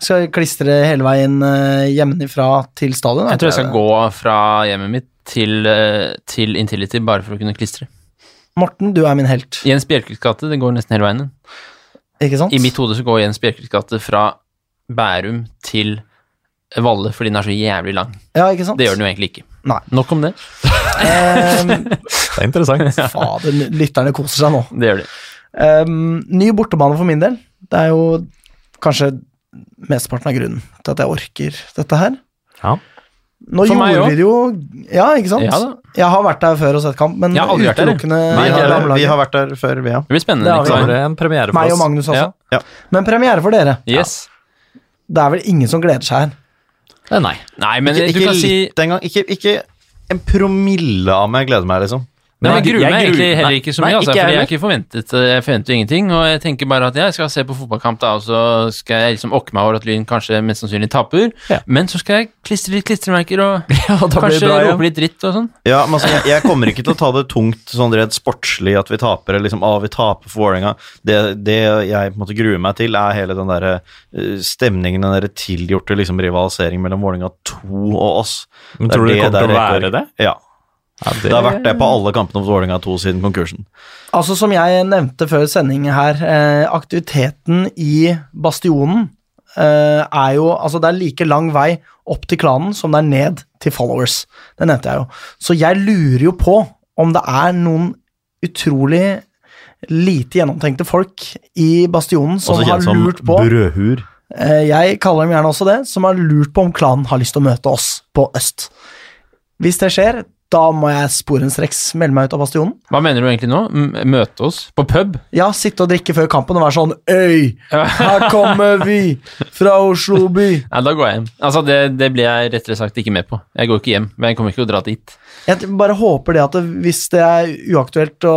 Speaker 1: Skal klistre hele veien eh, hjemmefra til stadion.
Speaker 3: Jeg
Speaker 1: er
Speaker 3: tror jeg
Speaker 1: ikke
Speaker 3: skal
Speaker 1: det?
Speaker 3: gå fra hjemmet mitt til, eh, til Intility bare for å kunne klistre.
Speaker 1: Morten, du er min helt.
Speaker 3: Jens Bjerkes gate, det går nesten hele veien.
Speaker 1: Ikke sant?
Speaker 3: I mitt hode så går Jens Bjerkes gate fra Bærum til Valle fordi den er så jævlig lang.
Speaker 1: ja, ikke sant?
Speaker 3: Det gjør den jo egentlig ikke.
Speaker 1: Nei.
Speaker 3: Nok om det.
Speaker 1: Ehm,
Speaker 4: Det er interessant.
Speaker 1: fader, lytterne koser seg nå.
Speaker 3: Det gjør de.
Speaker 1: Ehm, ny bortebane for min del. Det er jo kanskje mesteparten av grunnen til at jeg orker dette her.
Speaker 4: Ja.
Speaker 1: Nå
Speaker 3: For meg
Speaker 1: gjorde vi det jo Ja, ikke sant?
Speaker 3: Ja da.
Speaker 1: Jeg har vært der før og sett kamp, men
Speaker 3: Jeg har aldri vært der, jeg.
Speaker 1: utelukkende
Speaker 2: Vi
Speaker 1: av
Speaker 2: har,
Speaker 1: damelaget.
Speaker 2: vi har vært der før, vi, ja.
Speaker 3: Det blir
Speaker 1: Det
Speaker 3: spennende.
Speaker 1: har vi
Speaker 4: Så er
Speaker 3: Nikolai.
Speaker 4: det en premiere for
Speaker 1: Meg og
Speaker 4: oss.
Speaker 1: Magnus også.
Speaker 4: Ja.
Speaker 2: Ja.
Speaker 1: Men premiere for dere.
Speaker 3: Yes.
Speaker 1: Det er vel ingen som gleder seg her.
Speaker 4: Eh, Nei.
Speaker 3: Nei, men
Speaker 2: Ikke,
Speaker 3: du
Speaker 2: ikke
Speaker 3: kan si
Speaker 2: litt engang. Ikke, ikke en promille av meg gleder meg, liksom.
Speaker 3: Nei, men jeg gruer meg
Speaker 4: jeg
Speaker 3: egentlig
Speaker 4: gruer-
Speaker 3: heller ikke så
Speaker 4: Nei,
Speaker 3: mye,
Speaker 4: nei,
Speaker 3: altså,
Speaker 4: ikke jeg
Speaker 3: fordi jeg
Speaker 4: heller.
Speaker 3: har ikke forventet eh, Jeg forventer jo ingenting, og jeg tenker bare at ja, jeg skal se på fotballkamp, da, og så skal jeg liksom okke meg over at Lyn kanskje mest sannsynlig taper,
Speaker 4: Ja.
Speaker 3: men så skal jeg klistre litt klistremerker og
Speaker 4: og da blir det
Speaker 3: kanskje
Speaker 4: bra, ja.
Speaker 3: rope litt dritt og sånn.
Speaker 2: Ja, men altså, jeg, jeg kommer ikke til å ta det tungt sånn redd sportslig at vi taper, eller liksom, ah, vi taper for Vålerenga. Det, det jeg på en måte gruer meg til, er hele den der eh, stemningen, den der tilgjorte liksom, rivaliseringen mellom Vålerenga 2 og oss.
Speaker 4: Men
Speaker 2: er
Speaker 4: tror du det kommer
Speaker 2: der
Speaker 4: til å
Speaker 2: jeg
Speaker 4: være det?
Speaker 2: Ja.
Speaker 4: Ja, det,
Speaker 2: Det har vært det på alle kampene mot Vålerenga 2 siden konkursen.
Speaker 1: Altså Som jeg nevnte før sending her, eh, aktiviteten i Bastionen eh, er jo Altså, det er like lang vei opp til klanen som det er ned til followers. Det nevnte jeg jo. Så jeg lurer jo på om det er noen utrolig lite gjennomtenkte folk i Bastionen som
Speaker 2: Også
Speaker 1: har
Speaker 2: kjent som
Speaker 1: lurt på
Speaker 2: brødhur.
Speaker 1: Eh, Jeg kaller dem gjerne også det, som har lurt på om klanen har lyst til å møte oss på Øst. Hvis det skjer, da må jeg sporenstreks melde meg ut av bastionen.
Speaker 3: Hva mener du egentlig nå? M møte oss på pub?
Speaker 1: Ja, sitte og drikke før kampen og være sånn Øy,
Speaker 3: Ja.
Speaker 1: her kommer vi fra Oslo by.
Speaker 3: Nei, da går jeg hjem. Altså, det, det blir jeg rettere sagt ikke med på. Jeg går ikke hjem, men jeg kommer ikke til å dra dit.
Speaker 1: Jeg bare håper det at det, hvis det er uaktuelt å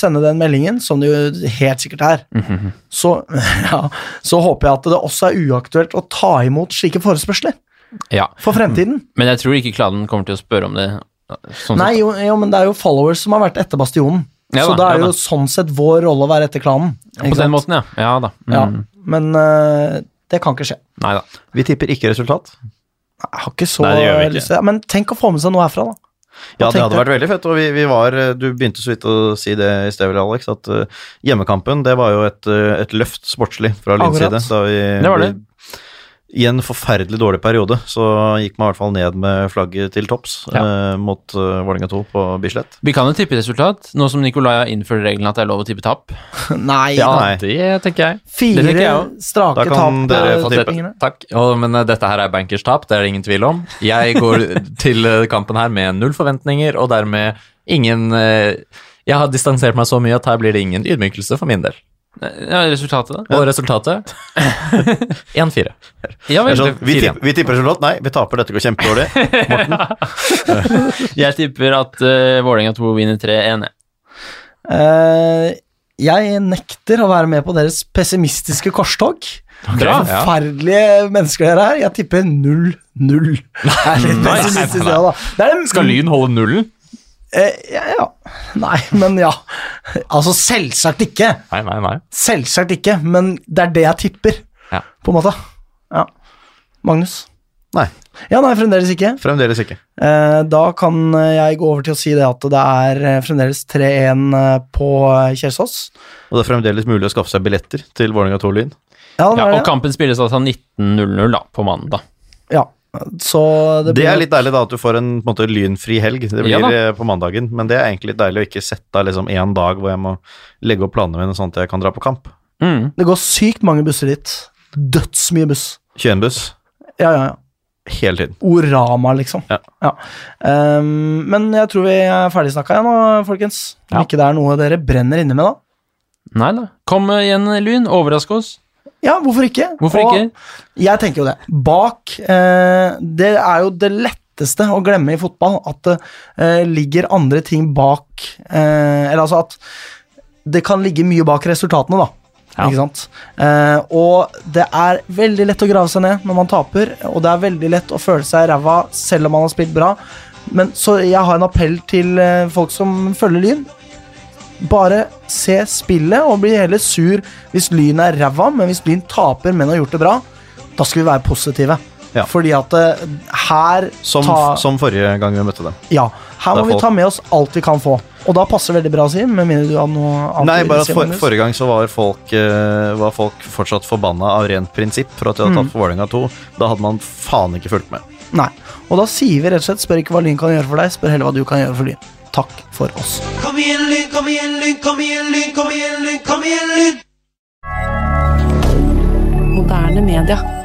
Speaker 1: sende den meldingen, som det jo helt sikkert er, så, ja, så håper jeg at det også er uaktuelt å ta imot slike forespørsler
Speaker 3: Ja,
Speaker 1: for fremtiden.
Speaker 3: men jeg tror ikke klanen kommer til å spørre om det. Sånn
Speaker 1: Nei,
Speaker 3: sett.
Speaker 1: jo, jo, men det er jo followers som har vært etter Bastionen.
Speaker 3: Ja
Speaker 1: så
Speaker 3: da,
Speaker 1: da er
Speaker 3: ja
Speaker 1: jo
Speaker 3: da.
Speaker 1: sånn sett vår rolle å være etter klanen.
Speaker 3: på den måten, ja. Ja da. Mm.
Speaker 1: Ja, men eh, det kan ikke skje.
Speaker 3: Nei da.
Speaker 2: Vi tipper ikke resultat.
Speaker 1: Jeg har ikke så
Speaker 2: Nei, det gjør vi ikke.
Speaker 1: lyst til det. Men tenk å få med seg noe herfra, da.
Speaker 2: Ja,
Speaker 1: Hva
Speaker 2: det hadde
Speaker 1: tenkte-
Speaker 2: vært veldig fett. Og vi, vi var, du begynte så vidt å si det i sted, vel, Alex, at eh, hjemmekampen det var jo et, eh, et løft sportslig fra Lyns
Speaker 1: Akkurat.
Speaker 2: side. Da vi,
Speaker 3: Det var det.
Speaker 2: I en forferdelig dårlig periode så gikk man i hvert fall ned med flagget til topps eh, mot uh, Vålerenga 2 på Bislett.
Speaker 3: Vi kan jo tippe resultat, nå som Nikolai har innført regelen at det er lov å tippe tap.
Speaker 1: Nei,
Speaker 2: Ja,
Speaker 1: da.
Speaker 2: nei.
Speaker 4: det tenker jeg.
Speaker 1: fire
Speaker 3: tenker jeg også.
Speaker 1: strake
Speaker 2: Da kan
Speaker 1: tap.
Speaker 2: dere
Speaker 1: eh,
Speaker 2: få
Speaker 1: til
Speaker 2: tippe.
Speaker 1: tingene.
Speaker 4: Takk. Og, men eh, dette her er bankers tap, det er det ingen tvil om. Jeg går til eh, kampen her med null forventninger, og dermed ingen eh, Jeg har distansert meg så mye at her blir det ingen ydmykelse for min del.
Speaker 3: Ja, resultatet, da?
Speaker 4: Og resultatet 1-4.
Speaker 3: Ja
Speaker 2: Det er
Speaker 3: vel.
Speaker 2: Sånn, vi,
Speaker 4: fire
Speaker 2: tipp, vi tipper resultat. Nei, vi taper. Dette går kjempedårlig.
Speaker 3: Jeg tipper at uh, Vålerenga 2 vinner 3-1. jeg.
Speaker 1: Eh, jeg nekter å være med på deres pessimistiske korstog.
Speaker 4: Bra. Ja.
Speaker 1: Forferdelige mennesker dere er. Jeg tipper 0-0. Det er litt
Speaker 4: Nei,
Speaker 1: pessimistisk,
Speaker 4: nei,
Speaker 1: det da. Det er det
Speaker 4: Skal Lyn holde nullen?
Speaker 1: Eh, ja, ja. Nei, men ja. Altså, selvsagt ikke.
Speaker 4: Nei, nei, nei.
Speaker 1: Selvsagt ikke, men det er det jeg tipper,
Speaker 4: Ja.
Speaker 1: på en måte. Ja. Magnus?
Speaker 2: Nei.
Speaker 1: Ja, nei, fremdeles ikke.
Speaker 2: Fremdeles ikke.
Speaker 1: Eh, da kan eh, jeg gå over til å si det at det er eh, fremdeles 3-1 eh, på eh, Kjelsås.
Speaker 2: Og det er fremdeles mulig å skaffe seg billetter til Vålerenga 2 Lyn.
Speaker 1: Ja, det
Speaker 3: Ja,
Speaker 1: er
Speaker 3: og
Speaker 1: det.
Speaker 3: kampen spilles altså 19.00 da, på mandag.
Speaker 1: Ja. Så det
Speaker 2: Det
Speaker 1: blir
Speaker 2: er litt deilig da at du får en, på en måte, lynfri helg. Det blir
Speaker 3: Ja da.
Speaker 2: eh, på mandagen, men det er egentlig litt deilig å ikke sette av liksom én dag hvor jeg må legge opp planene mine sånn at jeg kan dra på kamp.
Speaker 3: Mm.
Speaker 1: Det går sykt mange busser dit. Dødsmye buss.
Speaker 2: 21-buss
Speaker 1: Ja, ja, ja.
Speaker 2: hele tiden.
Speaker 1: Orama, liksom.
Speaker 2: Ja.
Speaker 1: Ehm, men jeg tror vi er ferdigsnakka igjen nå, folkens. Om
Speaker 4: Ja.
Speaker 1: ikke det er noe dere brenner inne med, da.
Speaker 3: Nei da. Kom eh, igjen, Lyn. Overrask oss.
Speaker 1: Ja, hvorfor ikke?
Speaker 3: Hvorfor
Speaker 1: Og
Speaker 3: ikke?
Speaker 1: Jeg tenker jo det. Bak eh, Det er jo det letteste å glemme i fotball, at det eh, ligger andre ting bak eh, Eller altså at det kan ligge mye bak resultatene, da.
Speaker 4: Ja.
Speaker 1: Ikke sant? Eh, og det er veldig lett å grave seg ned når man taper, og det er veldig lett å føle seg ræva selv om man har spilt bra. Men så jeg har en appell til eh, folk som følger Lyn. Bare se spillet og bli heller sur hvis Lyn er ræva, men hvis Lyn taper, men har gjort det bra, da skal vi være positive.
Speaker 2: Ja.
Speaker 1: Fordi at eh, her
Speaker 2: Som,
Speaker 1: ta-
Speaker 2: som forrige gang vi møtte dem.
Speaker 1: Ja, her
Speaker 2: Det
Speaker 1: må
Speaker 2: er
Speaker 1: vi
Speaker 2: folk.
Speaker 1: ta med oss alt vi kan få. Og da passer veldig bra å si, med mindre du har noe annet
Speaker 2: Nei,
Speaker 1: å
Speaker 2: bare at
Speaker 1: si,
Speaker 2: for,
Speaker 1: Magnus.
Speaker 2: forrige gang så var folk, eh, var folk fortsatt forbanna av rent prinsipp for at de hadde tatt for Vålerenga 2. Da hadde man faen ikke fulgt med.
Speaker 1: Nei. Og da sier vi rett og slett spør ikke hva Lyn kan gjøre for deg, spør heller hva du kan gjøre for Lyn. Takk for oss.
Speaker 6: Kom igjen, Lyn, kom igjen, Lyn, kom igjen, Lyn, kom igjen, Lyn, kom igjen, Lyn!
Speaker 8: Moderne media.